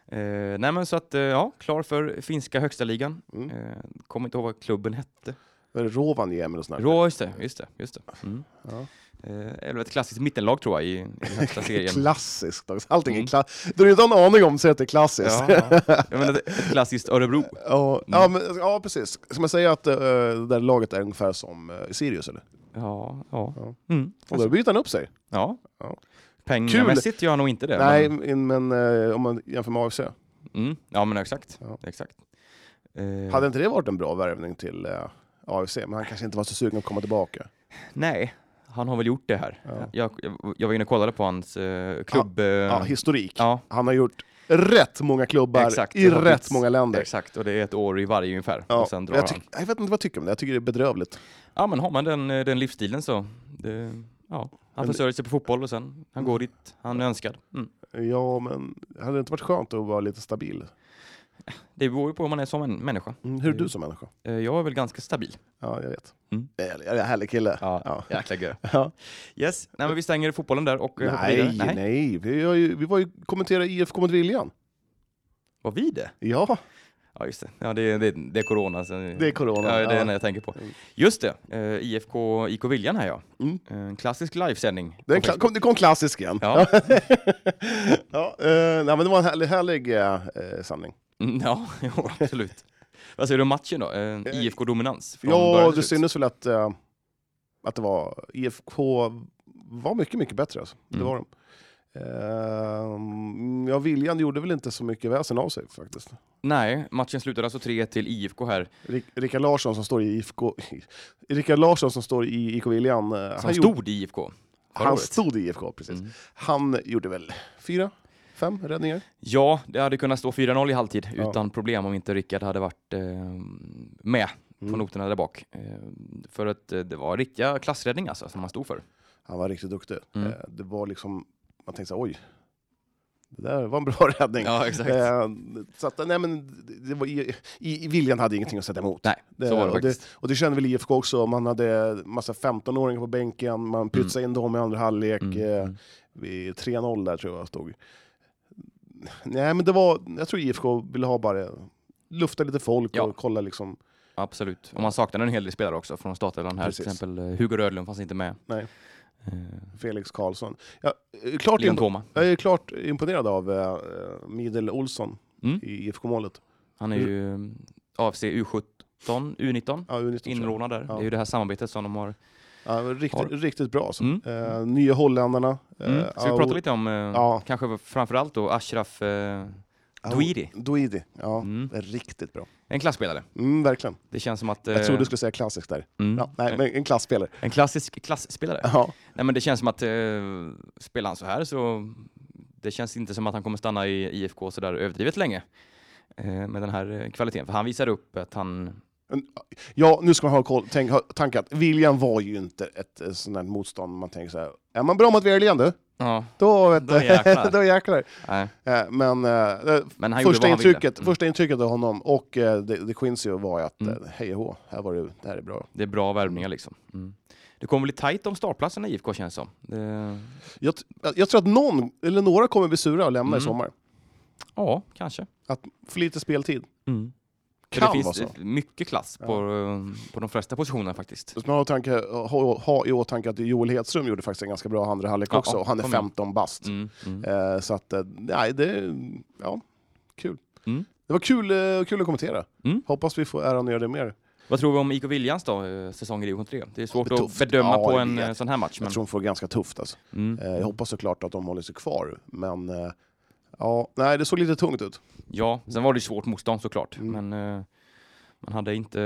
[SPEAKER 1] Eh, nej men så att, eh, ja, klar för finska högsta ligan.
[SPEAKER 2] Mm.
[SPEAKER 1] Eh, kommer inte ihåg vad klubben hette.
[SPEAKER 2] Var det Rovaniemi och sånt där?
[SPEAKER 1] Rå, just det, just det. Just det. Mm.
[SPEAKER 2] Ja.
[SPEAKER 1] Eh, eller ett klassiskt mittenlag tror jag i, i högsta serien.
[SPEAKER 2] Klassiskt också. Allting
[SPEAKER 1] Mm.
[SPEAKER 2] är klassiskt. Du har ju inte en aning om så att det är klassiskt.
[SPEAKER 1] ja, Mm.
[SPEAKER 2] Ja.
[SPEAKER 1] ja. Jag menar ett, ett klassiskt Örebro.
[SPEAKER 2] Ja, ja, men, ja, precis. Ska man säga att eh, det där laget är ungefär som eh, Sirius eller?
[SPEAKER 1] Ja, ja.
[SPEAKER 2] Ja.
[SPEAKER 1] Mm.
[SPEAKER 2] Och då byter han upp sig.
[SPEAKER 1] ja.
[SPEAKER 2] Ja.
[SPEAKER 1] Pengamässigt gör han nog inte det.
[SPEAKER 2] Nej,
[SPEAKER 1] Men,
[SPEAKER 2] men, men eh, om man jämför med AFC.
[SPEAKER 1] mm. Ja men exakt.
[SPEAKER 2] Ja.
[SPEAKER 1] exakt. Eh,
[SPEAKER 2] Hade inte det varit en bra värvning till eh, AFC? Men han kanske inte var så sugen att komma tillbaka.
[SPEAKER 1] Eh, Nej, han har väl gjort det här.
[SPEAKER 2] Ja.
[SPEAKER 1] Jag, jag, jag var inne och kollade på hans eh, klubb... eh,
[SPEAKER 2] Ja, historik.
[SPEAKER 1] ja,
[SPEAKER 2] Han har gjort rätt många klubbar
[SPEAKER 1] Exakt,
[SPEAKER 2] i
[SPEAKER 1] det har blivit-
[SPEAKER 2] rätt många länder.
[SPEAKER 1] Exakt, och det är ett år i varje ungefär.
[SPEAKER 2] Ja,
[SPEAKER 1] Och sen drar
[SPEAKER 2] jag,
[SPEAKER 1] han.
[SPEAKER 2] tyck- jag vet inte vad jag tycker om det, jag tycker det är bedrövligt.
[SPEAKER 1] Ja, men har man den, eh, den livsstilen så. Det, ja. Han
[SPEAKER 2] Men- Mm.
[SPEAKER 1] försörjer sig på fotboll och sen han går dit han är önskad. Mm.
[SPEAKER 2] Ja, men hade det inte varit skönt att vara lite stabil?
[SPEAKER 1] Det beror ju på hur man är som en människa.
[SPEAKER 2] Mm, hur är du som människa?
[SPEAKER 1] Eh, Jag är väl ganska stabil.
[SPEAKER 2] Ja, jag vet.
[SPEAKER 1] Mm.
[SPEAKER 2] Jag är- jag är en härlig kille. Ja.
[SPEAKER 1] jäkla gö.
[SPEAKER 2] Ja.
[SPEAKER 1] Yes, nej men vi stänger fotbollen där och eh, hoppar vidare.
[SPEAKER 2] Nej, nej, Vi, har ju, vi var ju kommenterade IFK mot Viljan.
[SPEAKER 1] Var vi det?
[SPEAKER 2] Ja,
[SPEAKER 1] Ja, just det. Ja, det, det, det är corona. Så
[SPEAKER 2] Det är corona.
[SPEAKER 1] Ja, det är det
[SPEAKER 2] Ja.
[SPEAKER 1] enda jag tänker på.
[SPEAKER 2] Mm.
[SPEAKER 1] Just det, eh, IFK IK Viljan här ja. Eh,
[SPEAKER 2] Mm.
[SPEAKER 1] En klassisk livesändning. på
[SPEAKER 2] Den kla-
[SPEAKER 1] Facebook.
[SPEAKER 2] kom, det kom klassisk igen.
[SPEAKER 1] Ja.
[SPEAKER 2] Ja, eh, nej, men det var en härlig, härlig eh, sanning.
[SPEAKER 1] Mm, ja, jo, absolut. Vad säger du om matchen då? Eh, IFK-dominans? från början
[SPEAKER 2] Ja,
[SPEAKER 1] till
[SPEAKER 2] det
[SPEAKER 1] slut.
[SPEAKER 2] syntes väl att, eh, att det var IFK var mycket, mycket bättre. Alltså. Det
[SPEAKER 1] Mm.
[SPEAKER 2] var de. Eh, ja, Viljan gjorde väl inte så mycket väsen av sig faktiskt.
[SPEAKER 1] Nej, matchen slutade alltså 3 till IFK här.
[SPEAKER 2] Rik- Rickard Larsson som står i IFK... Rickard Larsson som står i IK Viljan... eh,
[SPEAKER 1] Som
[SPEAKER 2] han
[SPEAKER 1] stod
[SPEAKER 2] gjorde,
[SPEAKER 1] i IFK. förra
[SPEAKER 2] han
[SPEAKER 1] året.
[SPEAKER 2] stod i IFK, precis.
[SPEAKER 1] Mm.
[SPEAKER 2] Han gjorde väl fyra, fem räddningar?
[SPEAKER 1] Ja, det hade kunnat stå 4-0 i halvtid
[SPEAKER 2] Ja.
[SPEAKER 1] utan problem om inte Rickard hade varit eh, med på
[SPEAKER 2] Mm.
[SPEAKER 1] noterna där bak. Eh, för att eh, det var riktiga klassräddning alltså, som han stod för.
[SPEAKER 2] Han var riktigt duktig.
[SPEAKER 1] Mm.
[SPEAKER 2] Eh, Det var liksom... Man tänkte så här, oj. Det där var en bra räddning.
[SPEAKER 1] Ja, exakt.
[SPEAKER 2] Eh, så att, nej, men det- det var, i, i, i Viljan hade ingenting att sätta emot.
[SPEAKER 1] Nej,
[SPEAKER 2] Det,
[SPEAKER 1] så var det
[SPEAKER 2] och, det,
[SPEAKER 1] faktiskt.
[SPEAKER 2] och det kände väl IFK också, man hade massa 15-åringar på bänken, man pytsade in dem i andra halvlek.
[SPEAKER 1] Mm,
[SPEAKER 2] Eh,
[SPEAKER 1] mm.
[SPEAKER 2] vid 3-0 där tror jag stod. Nej men det var, jag tror IFK ville ha bara lufta lite folk
[SPEAKER 1] Ja.
[SPEAKER 2] och kolla liksom.
[SPEAKER 1] Absolut. Och man saknade en hel del spelare också från startelvan här.
[SPEAKER 2] Precis.
[SPEAKER 1] Till exempel eh, Hugo Rödlund fanns inte med.
[SPEAKER 2] Nej.
[SPEAKER 1] Eh,
[SPEAKER 2] Felix Karlsson. Jag är klart,
[SPEAKER 1] Leon
[SPEAKER 2] imp-
[SPEAKER 1] Toma.
[SPEAKER 2] jag är klart imponerad av eh, Midel Olsson
[SPEAKER 1] Mm.
[SPEAKER 2] i IFK-målet.
[SPEAKER 1] Han är ju eh, AFC U17, U19,
[SPEAKER 2] Ja, U19 tror jag.
[SPEAKER 1] inrånad där.
[SPEAKER 2] Ja.
[SPEAKER 1] Det är ju det här samarbetet som de har.
[SPEAKER 2] ja, men
[SPEAKER 1] Har-
[SPEAKER 2] riktigt, riktigt bra alltså.
[SPEAKER 1] Mm.
[SPEAKER 2] Eh, nya holländarna.
[SPEAKER 1] Mm.
[SPEAKER 2] eh,
[SPEAKER 1] Ska vi prata lite om, eh,
[SPEAKER 2] Ja.
[SPEAKER 1] kanske framförallt då, Ashraf eh,
[SPEAKER 2] Aou-
[SPEAKER 1] Douiri.
[SPEAKER 2] Douidi, ja.
[SPEAKER 1] Mm.
[SPEAKER 2] Riktigt bra.
[SPEAKER 1] En klasspelare.
[SPEAKER 2] Mm, verkligen.
[SPEAKER 1] Det känns som att... eh,
[SPEAKER 2] Jag trodde du skulle säga klassisk där.
[SPEAKER 1] mm.
[SPEAKER 2] Ja, nej, men en klassspelare.
[SPEAKER 1] En klassisk klassspelare.
[SPEAKER 2] Ja.
[SPEAKER 1] Nej, men det känns som att eh, spelar han så här så det känns inte som att han kommer stanna i IFK så där överdrivet länge eh, med den här eh, kvaliteten. För han visar upp att han...
[SPEAKER 2] Ja, nu ska man ha koll. Tänk, ha, tankat. Viljan var ju inte ett, eh, sånt där motstånd man tänker så här. Är man bra mot Viljan du,
[SPEAKER 1] Ja,
[SPEAKER 2] då, vet
[SPEAKER 1] Då
[SPEAKER 2] du,
[SPEAKER 1] jäklar.
[SPEAKER 2] då jäklar.
[SPEAKER 1] nej.
[SPEAKER 2] Eh, Men, eh, eh,
[SPEAKER 1] Men han
[SPEAKER 2] första,
[SPEAKER 1] gjorde vad han ville.
[SPEAKER 2] intrycket,
[SPEAKER 1] Mm.
[SPEAKER 2] första intrycket av honom och eh, De De Quincy var ju att
[SPEAKER 1] Mm.
[SPEAKER 2] eh, hej och hå, här var det, det här är bra.
[SPEAKER 1] Det är bra värvningar liksom. Mm. Det kommer bli tajt om startplatserna i IFK känns som. Det...
[SPEAKER 2] Jag, t- jag tror att någon, eller några kommer bli sura och lämna i
[SPEAKER 1] Mm.
[SPEAKER 2] sommar.
[SPEAKER 1] Ja, kanske.
[SPEAKER 2] För lite speltid.
[SPEAKER 1] Mm. För
[SPEAKER 2] Kan
[SPEAKER 1] det
[SPEAKER 2] vara
[SPEAKER 1] finns
[SPEAKER 2] så.
[SPEAKER 1] eh, mycket klass på, eh, på de flesta positionerna faktiskt.
[SPEAKER 2] Så ska man ha, i tanke, ha, ha i åtanke att Joel Hedström gjorde faktiskt en ganska bra andra halvlek
[SPEAKER 1] Ja,
[SPEAKER 2] också, och han är
[SPEAKER 1] kom igen.
[SPEAKER 2] 15 bast.
[SPEAKER 1] Mm. Mm.
[SPEAKER 2] Eh, Så att, eh, nej, det... Ja, kul.
[SPEAKER 1] Mm.
[SPEAKER 2] Det var kul, eh, kul att kommentera.
[SPEAKER 1] Mm.
[SPEAKER 2] Hoppas vi får äran att göra det mer.
[SPEAKER 1] Vad tror vi om IK Viljans då, eh, säsong i division 3? Det är svårt
[SPEAKER 2] Det är
[SPEAKER 1] att
[SPEAKER 2] tufft.
[SPEAKER 1] bedöma
[SPEAKER 2] Ja,
[SPEAKER 1] på
[SPEAKER 2] jag
[SPEAKER 1] en
[SPEAKER 2] vet.
[SPEAKER 1] eh, sån här match. Men...
[SPEAKER 2] Jag tror de får det ganska tufft. Alltså.
[SPEAKER 1] Mm.
[SPEAKER 2] Eh, Jag hoppas såklart att de håller sig kvar, men... eh, Ja, nej, det såg lite tungt ut.
[SPEAKER 1] Ja, sen var det ju svårt motstånd såklart.
[SPEAKER 2] Mm.
[SPEAKER 1] Men eh, man hade inte...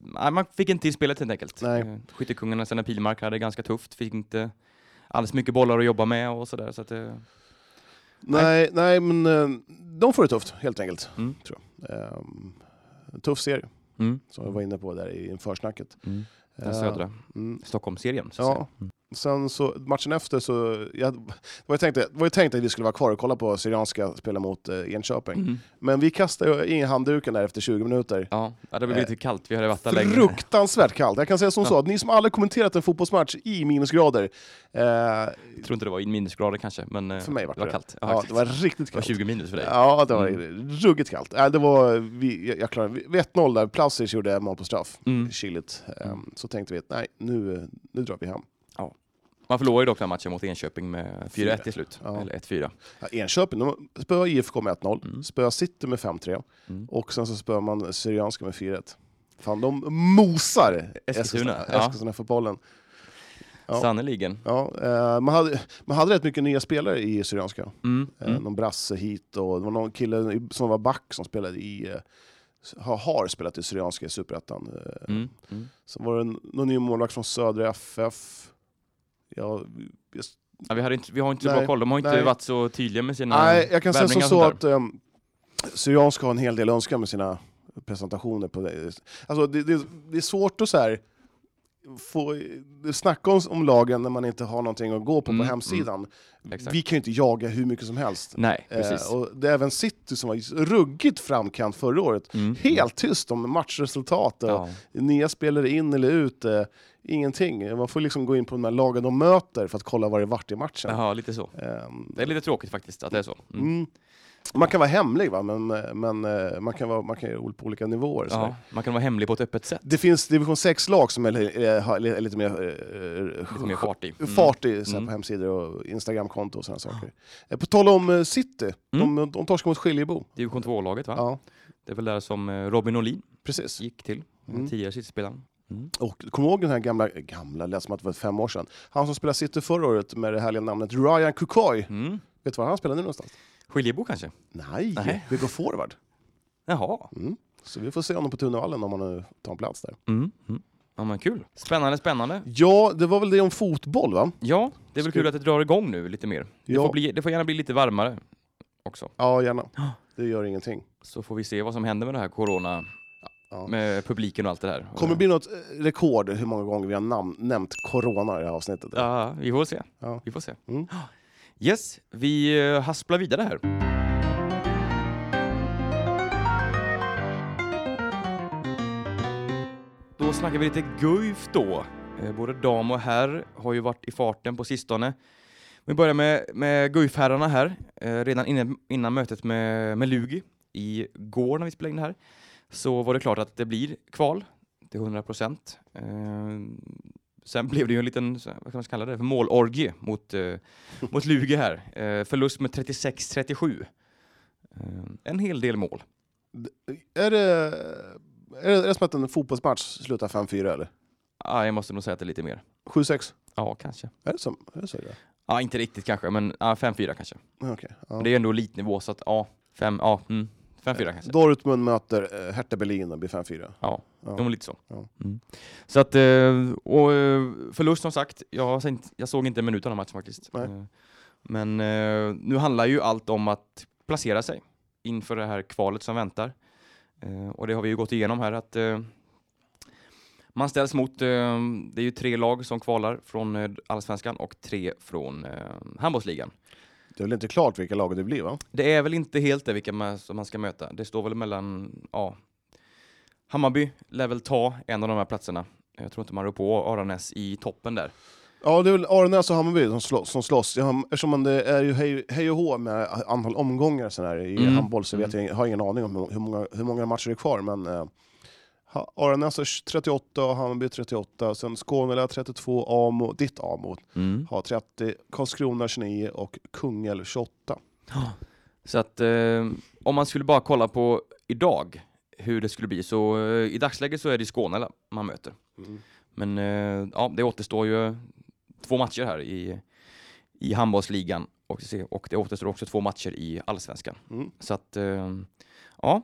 [SPEAKER 1] nej, man fick inte till spelet helt enkelt.
[SPEAKER 2] Nej.
[SPEAKER 1] Eh, Skyttekungarna sen Pilmark hade det ganska tufft. Fick inte alls mycket bollar att jobba med och sådär. Så att, eh, Nej.
[SPEAKER 2] Nej, nej men eh, de får det tufft, helt enkelt.
[SPEAKER 1] Mm.
[SPEAKER 2] Tror jag. Eh, Tuff serie,
[SPEAKER 1] mm.
[SPEAKER 2] som jag var inne på där i försnacket.
[SPEAKER 1] Mm. Den
[SPEAKER 2] Eh,
[SPEAKER 1] södra
[SPEAKER 2] mm.
[SPEAKER 1] Stockholmsserien. Så att
[SPEAKER 2] Ja.
[SPEAKER 1] säga.
[SPEAKER 2] Sen så, matchen efter så... Jag, det, var ju tänkt, det var ju tänkt att vi skulle vara kvar och kolla på Syrianska spela mot eh, Enköping.
[SPEAKER 1] Mm.
[SPEAKER 2] Men vi kastade ju in handduken där efter 20 minuter.
[SPEAKER 1] ja, det hade blivit
[SPEAKER 2] Eh,
[SPEAKER 1] lite kallt. Vi hade varit där länge.
[SPEAKER 2] Fruktansvärt kallt. Jag kan säga som
[SPEAKER 1] Ja.
[SPEAKER 2] så, att ni som aldrig kommenterat en fotbollsmatch i minusgrader, eh,
[SPEAKER 1] Jag tror inte det var i minusgrader kanske, men eh,
[SPEAKER 2] för mig var
[SPEAKER 1] det
[SPEAKER 2] det
[SPEAKER 1] var kallt. Ja,
[SPEAKER 2] Ja,
[SPEAKER 1] exakt.
[SPEAKER 2] det var riktigt
[SPEAKER 1] det var
[SPEAKER 2] kallt.
[SPEAKER 1] 20 minus för dig. Mm.
[SPEAKER 2] Ja, det var ruggigt kallt. Äh, det var, vi, jag- jag klarade, vi- vid 1-0 där, Plasic gjorde mål på straff.
[SPEAKER 1] Mm.
[SPEAKER 2] Kyligt. Ehm,
[SPEAKER 1] Mm.
[SPEAKER 2] Så tänkte vi att nej, nu, eh, nu drar vi hem.
[SPEAKER 1] Man förlorade ju dock den matchen mot Enköping med 4-1 till slut.
[SPEAKER 2] Ja.
[SPEAKER 1] Eller 1-4.
[SPEAKER 2] Ja, Enköping, de spöade IFK med 1-0,
[SPEAKER 1] Mm.
[SPEAKER 2] spöade City med 5-3
[SPEAKER 1] Mm.
[SPEAKER 2] och sen så spöade man Syrianska med 4-1. Fan, de mosar
[SPEAKER 1] Eskilstuna, ja.
[SPEAKER 2] Eskilstuna-fotbollen. Ja.
[SPEAKER 1] Sannerligen.
[SPEAKER 2] Ja, eh, man, hade, man hade rätt mycket nya spelare i Syrianska.
[SPEAKER 1] Mm.
[SPEAKER 2] Eh,
[SPEAKER 1] Mm.
[SPEAKER 2] Någon brasse hit och det var någon kille i- som var back som spelade i, eh, har, har spelat i Syrianska i Superettan. Eh,
[SPEAKER 1] Mm. Mm.
[SPEAKER 2] Sen var det en- någon ny målvakt från Södra FF. Ja, just,
[SPEAKER 1] Ja, vi, hade inte, vi har inte så
[SPEAKER 2] Nej,
[SPEAKER 1] bra koll. De har inte
[SPEAKER 2] nej.
[SPEAKER 1] varit så tydliga med sina
[SPEAKER 2] nej, jag kan säga som
[SPEAKER 1] värvningar och
[SPEAKER 2] så
[SPEAKER 1] sånt
[SPEAKER 2] att eh, Syrianska har en hel del önskan med sina presentationer. På det. Alltså, det, det, det är svårt att så här, få, snacka om, om lagen när man inte har någonting att gå på
[SPEAKER 1] Mm,
[SPEAKER 2] på hemsidan.
[SPEAKER 1] där. Exakt.
[SPEAKER 2] Vi kan ju inte jaga hur mycket som helst.
[SPEAKER 1] Nej,
[SPEAKER 2] Eh,
[SPEAKER 1] precis.
[SPEAKER 2] och det är även City som var ruggigt framkant förra året.
[SPEAKER 1] Mm.
[SPEAKER 2] Helt tyst om matchresultat och
[SPEAKER 1] Ja.
[SPEAKER 2] nya spelare in eller ut. Eh, ingenting. Man får liksom gå in på de här lagen de möter för att kolla vad det vart i matchen.
[SPEAKER 1] Jaha, lite så.
[SPEAKER 2] Ehm,
[SPEAKER 1] Det är lite tråkigt faktiskt att det är så. Mm.
[SPEAKER 2] mm. Man kan vara hemlig, va? men, eh, men eh, man kan, vara, man kan göra på olika nivåer. så där.
[SPEAKER 1] Ja, man kan vara hemlig på ett öppet sätt.
[SPEAKER 2] Det finns division 6-lag som är, li- eh, har li- är lite mer, eh,
[SPEAKER 1] Lite mer fart i. Mm.
[SPEAKER 2] fart i, så här,
[SPEAKER 1] Mm.
[SPEAKER 2] på hemsidor och Instagramkonto och sådana saker. Eh, På tal om eh, City, de,
[SPEAKER 1] Mm.
[SPEAKER 2] de torskar mot Skiljebo.
[SPEAKER 1] Division 2-laget va?
[SPEAKER 2] Ja,
[SPEAKER 1] Det är väl där som eh, Robin Olin
[SPEAKER 2] precis.
[SPEAKER 1] gick till,
[SPEAKER 2] Mm.
[SPEAKER 1] mm. tidigare sittspelaren. Mm.
[SPEAKER 2] Och kommer du ihåg den här gamla, gamla, lät som att det var fem år sedan. Han som spelade City förra året med det härliga namnet Ryan Kukoy.
[SPEAKER 1] Mm.
[SPEAKER 2] Vet du var han spelar nu någonstans?
[SPEAKER 1] Skiljebo kanske?
[SPEAKER 2] Nej,
[SPEAKER 1] Nej.
[SPEAKER 2] vi går forward.
[SPEAKER 1] Jaha.
[SPEAKER 2] Mm. Så vi får se honom på Tunavallen om han nu tar en plats där.
[SPEAKER 1] Mm. Mm. Ja men kul. Spännande, spännande.
[SPEAKER 2] Ja, det var väl det om fotboll va?
[SPEAKER 1] Ja, det är väl
[SPEAKER 2] Ska-
[SPEAKER 1] kul att det drar igång nu lite mer. Det,
[SPEAKER 2] Ja.
[SPEAKER 1] får, bli, det får gärna bli lite varmare också.
[SPEAKER 2] Ja, gärna.
[SPEAKER 1] Ja.
[SPEAKER 2] Det gör ingenting.
[SPEAKER 1] Så får vi se vad som händer med det här corona,
[SPEAKER 2] Ja.
[SPEAKER 1] med publiken och allt det där.
[SPEAKER 2] Kommer det bli något eh, rekord hur många gånger vi har namn, nämnt corona i det här avsnittet?
[SPEAKER 1] Ja, vi får se.
[SPEAKER 2] Ja.
[SPEAKER 1] Vi får se.
[SPEAKER 2] Mm.
[SPEAKER 1] Yes, vi eh, hasplar vidare här. Då snackar vi lite Guif då. Eh, Både dam och herr har ju varit i farten på sistone. Vi börjar med, med Guif-herrarna här. Eh, Redan innan, innan mötet med, med Lugi i går när vi spelade in det här så var det klart att det blir kval till 100 procent. Eh, Sen blev det ju en liten, så här, vad kan man kalla det, för målorgie mot, eh, mot Lugi här. Eh, förlust med 36-37. Eh, en hel del mål.
[SPEAKER 2] Är, det, är, det, är det som att en fotbollsmatch slutar 5-4 eller?
[SPEAKER 1] Ah, jag måste nog säga att det är lite mer.
[SPEAKER 2] 7-6?
[SPEAKER 1] Ja, kanske.
[SPEAKER 2] Är det som, är det så? det är?
[SPEAKER 1] Ja, inte riktigt kanske, men ah, 5-4 kanske.
[SPEAKER 2] Ja, Okej. ja.
[SPEAKER 1] Men det är ju ändå elitnivå, så att ja, fem ja, mm, 5-4 kanske.
[SPEAKER 2] Dortmund möter eh, Hertha Berlin och blir 5-4.
[SPEAKER 1] Ja,
[SPEAKER 2] Ja.
[SPEAKER 1] de var lite så.
[SPEAKER 2] Ja.
[SPEAKER 1] Mm. Så att, eh, och eh, förlust som sagt, jag, har sett- jag såg inte en minut av den här matchen faktiskt.
[SPEAKER 2] Nej.
[SPEAKER 1] Eh, Men eh, nu handlar ju allt om att placera sig inför det här kvalet som väntar. Eh, Och det har vi ju gått igenom här att eh, man ställs mot, eh, det är ju tre lag som kvalar från eh, Allsvenskan och tre från eh, handbollsligan.
[SPEAKER 2] Det är väl inte klart vilka lag det blir va?
[SPEAKER 1] Det är väl inte helt det vilka man, som man ska möta. Det står väl mellan, ja, Hammarby lär väl ta en av de här platserna. Jag tror inte man rör på Aranäs i toppen där.
[SPEAKER 2] Ja, det är väl Aranäs och Hammarby som slåss. Som slåss. Jag, har- eftersom man- det är ju hej, hej och hå med antal omgångar och sådär, i
[SPEAKER 1] Mm.
[SPEAKER 2] handboll så vet jag, jag har ingen aning om hur många, hur många matcher det är kvar. Men, eh, ha- Aranäs har 38 och Hammarby 38, sen Skånela 32, Amo, ditt Amo har 30, Karlskrona 29 och Kungälv 28.
[SPEAKER 1] Så att eh, om man skulle bara kolla på idag hur det skulle bli så eh, i dagsläget så är det Skåne eller, man möter. Men eh, ja, det återstår ju två matcher här i, i handbollsligan och, se- och det återstår också två matcher i allsvenskan.
[SPEAKER 2] Mm.
[SPEAKER 1] Så att, eh, ja.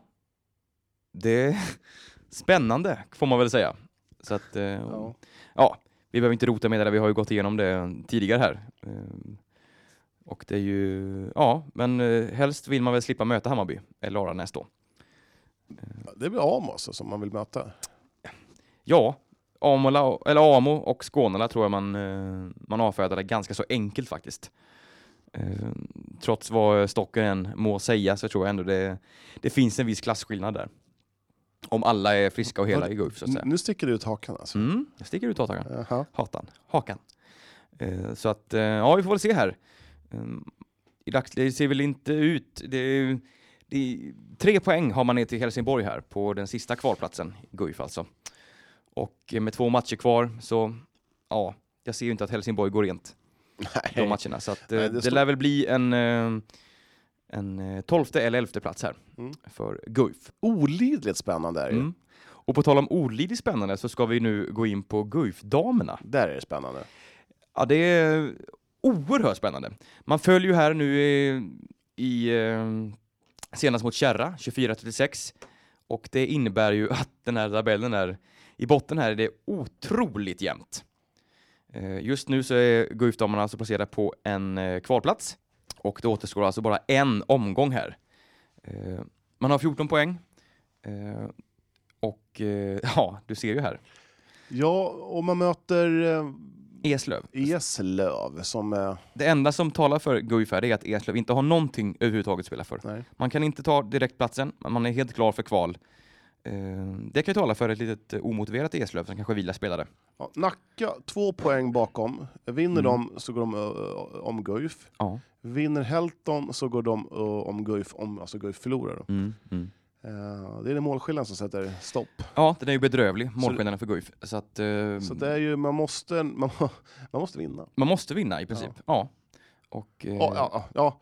[SPEAKER 1] Det är spännande, får man väl säga. Så att, eh, ja.
[SPEAKER 2] Ja.
[SPEAKER 1] vi behöver inte rota med det där, vi har ju gått igenom det tidigare här. Eh, och det är ju, ja, men eh, helst vill man väl slippa möta Hammarby, eller Aranäs då.
[SPEAKER 2] Det blir Amo alltså, som man vill möta.
[SPEAKER 1] Ja, Amola, eller Amo och Skånela tror jag man, eh, man avfärdade ganska så enkelt faktiskt. Eh, Trots vad Stocken än må säga så tror jag ändå det, det finns en viss klasskillnad där. Om alla är friska och hela i Guif så att
[SPEAKER 2] N-
[SPEAKER 1] säga.
[SPEAKER 2] Nu sticker det ut hakan alltså.
[SPEAKER 1] Mm, jag sticker ut hakan.
[SPEAKER 2] Jaha.
[SPEAKER 1] Hatan. Hakan. Eh, Så att, eh, ja vi får väl se här. Ehm, I dagsläget ser väl inte ut... Det är, det är, tre poäng har man ner till Helsingborg här på den sista kvalplatsen, i Guif alltså. Och eh, med två matcher kvar så, ja, jag ser ju inte att Helsingborg går rent de
[SPEAKER 2] Nej.
[SPEAKER 1] matcherna. Så att, eh,
[SPEAKER 2] Nej, det
[SPEAKER 1] det,
[SPEAKER 2] står-
[SPEAKER 1] lär väl bli en, eh, en eh, tolfte eller elfte plats här
[SPEAKER 2] Mm.
[SPEAKER 1] för Guif.
[SPEAKER 2] Olidligt spännande är det ju.
[SPEAKER 1] Mm. Och på tal om olidligt spännande så ska vi nu gå in på Guif-damerna.
[SPEAKER 2] Där är det spännande.
[SPEAKER 1] Ja, det är oerhört spännande. Man följer ju här nu i, i eh, senast mot Kärra, 24-36. Och det innebär ju att den här tabellen är, i botten här är det otroligt jämnt. Eh, Just nu så är Guifdamerna alltså placerade på en eh, kvalplats. Och det återstår alltså bara en omgång här. Eh, Man har 14 poäng. Eh, Och eh, ja, du ser ju här.
[SPEAKER 2] Ja, och man möter eh,
[SPEAKER 1] Eslöv.
[SPEAKER 2] Eslöv som... Eh,
[SPEAKER 1] Det enda som talar för Guif här är att Eslöv inte har någonting överhuvudtaget att spela för.
[SPEAKER 2] nej.
[SPEAKER 1] Man kan inte ta direktplatsen, men man är helt klar för kval. Eh, Det kan ju tala för ett litet eh, omotiverat Eslöv som kanske vilar spelare.
[SPEAKER 2] Ja, Nacka, två poäng bakom. Vinner de så går de eh, om Guif.
[SPEAKER 1] Ja.
[SPEAKER 2] Vinner Helton så går de eh, om Guif, om alltså Guif förlorar. Då.
[SPEAKER 1] Mm, mm.
[SPEAKER 2] Eh, det är det målskillnaden som sätter stopp.
[SPEAKER 1] Ja, den är ju bedrövlig, målskillnaden för Guif. Så att, eh,
[SPEAKER 2] Så det är ju, man måste, man, man måste vinna.
[SPEAKER 1] man måste vinna i princip. Ja. Och, eh,
[SPEAKER 2] Ja, ja, ja, ja.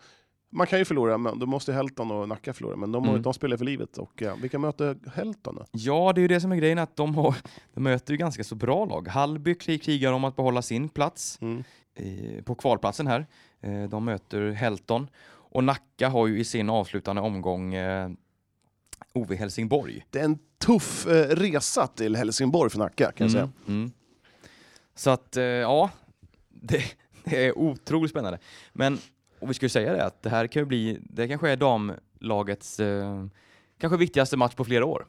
[SPEAKER 2] Man kan ju förlora, men då måste Helton och Nacka förlora. Men de, har-
[SPEAKER 1] Mm.
[SPEAKER 2] de spelar för livet. Och, ja, vilka möter Helton då?
[SPEAKER 1] Ja, det är ju det som är grejen, att de, har, de möter ju ganska så bra lag. Hallby krig- krigar om att behålla sin plats
[SPEAKER 2] Mm.
[SPEAKER 1] eh, på kvalplatsen här. Eh, de möter Helton. Och Nacka har ju i sin avslutande omgång eh, OV Helsingborg.
[SPEAKER 2] Det är en tuff eh, resa till Helsingborg för Nacka kan jag säga.
[SPEAKER 1] Mm. Så att, eh, ja, det, det är otroligt spännande. Men, och vi skulle säga det, att det här kan ju bli, det kanske är damlagets eh, kanske viktigaste match på flera år.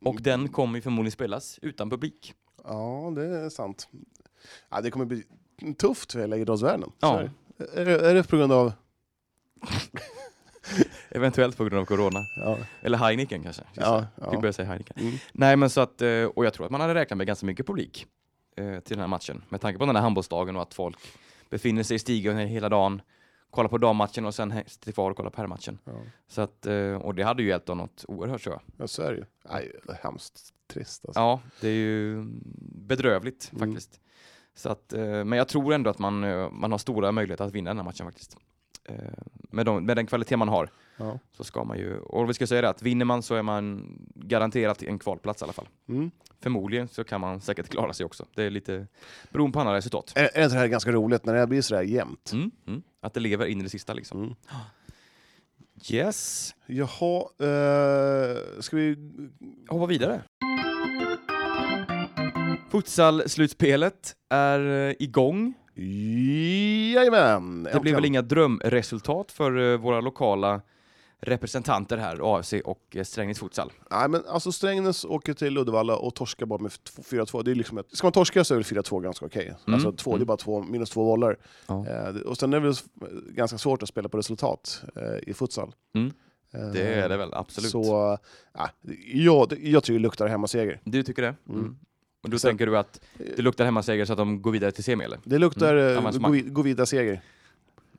[SPEAKER 1] Och den kommer ju förmodligen spelas utan publik.
[SPEAKER 2] Ja, det är sant. Ja, det kommer bli tufft för hela idrottsvärlden. Så
[SPEAKER 1] Ja.
[SPEAKER 2] är det. Är, det, är det på grund av...
[SPEAKER 1] Eventuellt på grund av corona.
[SPEAKER 2] Ja,
[SPEAKER 1] Eller Heineken kanske.
[SPEAKER 2] ja,
[SPEAKER 1] Fick
[SPEAKER 2] ja.
[SPEAKER 1] börja säga Heineken.
[SPEAKER 2] Mm.
[SPEAKER 1] Nej men så att, eh, och jag tror att man hade räknat med ganska mycket publik eh, till den här matchen. Med tanke på den här handbollsdagen och att folk befinner sig i stigen hela dagen, kollar på dammatchen och sen hä- sitter kvar och kollar på herrmatchen.
[SPEAKER 2] Ja.
[SPEAKER 1] Så att, eh, och det hade ju hjälpt dem något oerhört tror jag.
[SPEAKER 2] ja, så är det ju. Nej, det är hemskt trist alltså.
[SPEAKER 1] Ja, det är ju bedrövligt
[SPEAKER 2] Mm.
[SPEAKER 1] faktiskt. Så att, eh, men jag tror ändå att man, eh, man har stora möjligheter att vinna den här matchen faktiskt. Eh, Med, de, med den kvalitet man har
[SPEAKER 2] Ja.
[SPEAKER 1] så ska man ju, och vi ska säga det att vinner man så är man garanterat en kvalplats i alla fall.
[SPEAKER 2] Mm.
[SPEAKER 1] förmodligen så kan man säkert klara sig också. Det är lite beroende på andra resultat.
[SPEAKER 2] Är, är det så här ganska roligt när det här blir sådär jämnt?
[SPEAKER 1] Mm, mm. Att det lever in i det sista liksom.
[SPEAKER 2] Mm.
[SPEAKER 1] Yes,
[SPEAKER 2] Jaha, eh, ska vi...
[SPEAKER 1] hoppa vidare. Futsal-slutspelet är eh, igång.
[SPEAKER 2] Jajamän!
[SPEAKER 1] Det blev väl inga drömresultat för eh, våra lokala representanter här, AFC och eh, Strängnäs Futsal.
[SPEAKER 2] Nej, men alltså Strängnäs åker till Uddevalla och torskar bara med f- 4-2. Det är liksom ett, ska man torska så är väl 4-2 ganska okej. Alltså två, det är bara två, minus två bollar.
[SPEAKER 1] Mm. Ja.
[SPEAKER 2] Eh, det- och sen är det väl s- ganska svårt att spela på resultat eh, i futsal.
[SPEAKER 1] Mm.
[SPEAKER 2] Eh,
[SPEAKER 1] Det är det väl, absolut.
[SPEAKER 2] Så, äh, jag, jag tycker det luktar hemmaseger.
[SPEAKER 1] Du tycker det?
[SPEAKER 2] Mm.
[SPEAKER 1] Mm. Och då
[SPEAKER 2] Sen-
[SPEAKER 1] tänker du att det luktar hemmaseger så att de går vidare till semi eller?
[SPEAKER 2] Det luktar
[SPEAKER 1] Mm,
[SPEAKER 2] mm.
[SPEAKER 1] avancemang.
[SPEAKER 2] gå vidare seger.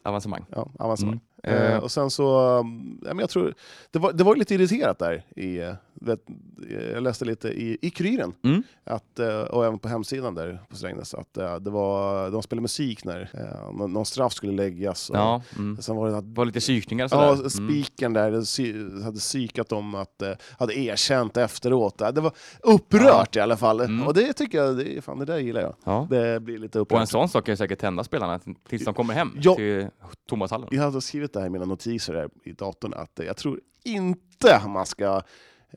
[SPEAKER 1] Avancemang.
[SPEAKER 2] Ja, avancemang.
[SPEAKER 1] Mm.
[SPEAKER 2] Eh,
[SPEAKER 1] Eh,
[SPEAKER 2] och sen så, um, ja, men jag tror, det var, det var ju lite irriterat där. I, eh, vet, eh, jag läste lite i, i Kuriren,
[SPEAKER 1] Mm.
[SPEAKER 2] att, eh, och även på hemsidan där på Strängnäs, att eh, det var, de spelade musik när eh, nå- någon straff skulle läggas. Och,
[SPEAKER 1] Ja, mm.
[SPEAKER 2] Sen var det att
[SPEAKER 1] Det var lite psykningar och sådär.
[SPEAKER 2] Ja, spiken där det sy- hade psykat om att, eh, hade erkänt efteråt. Eh, Det var upprört i alla fall.
[SPEAKER 1] Mm.
[SPEAKER 2] Och det tycker jag, det, är- fan, det där gillar jag.
[SPEAKER 1] Ja.
[SPEAKER 2] Det blir lite
[SPEAKER 1] Och en
[SPEAKER 2] upprört.
[SPEAKER 1] sån sak kan ju säkert tända spelarna t- tills de kommer hem
[SPEAKER 2] Ja.
[SPEAKER 1] till Tomashallen.
[SPEAKER 2] Jag hade skrivit det här i mina notiser här i datorn, att eh, jag tror inte man ska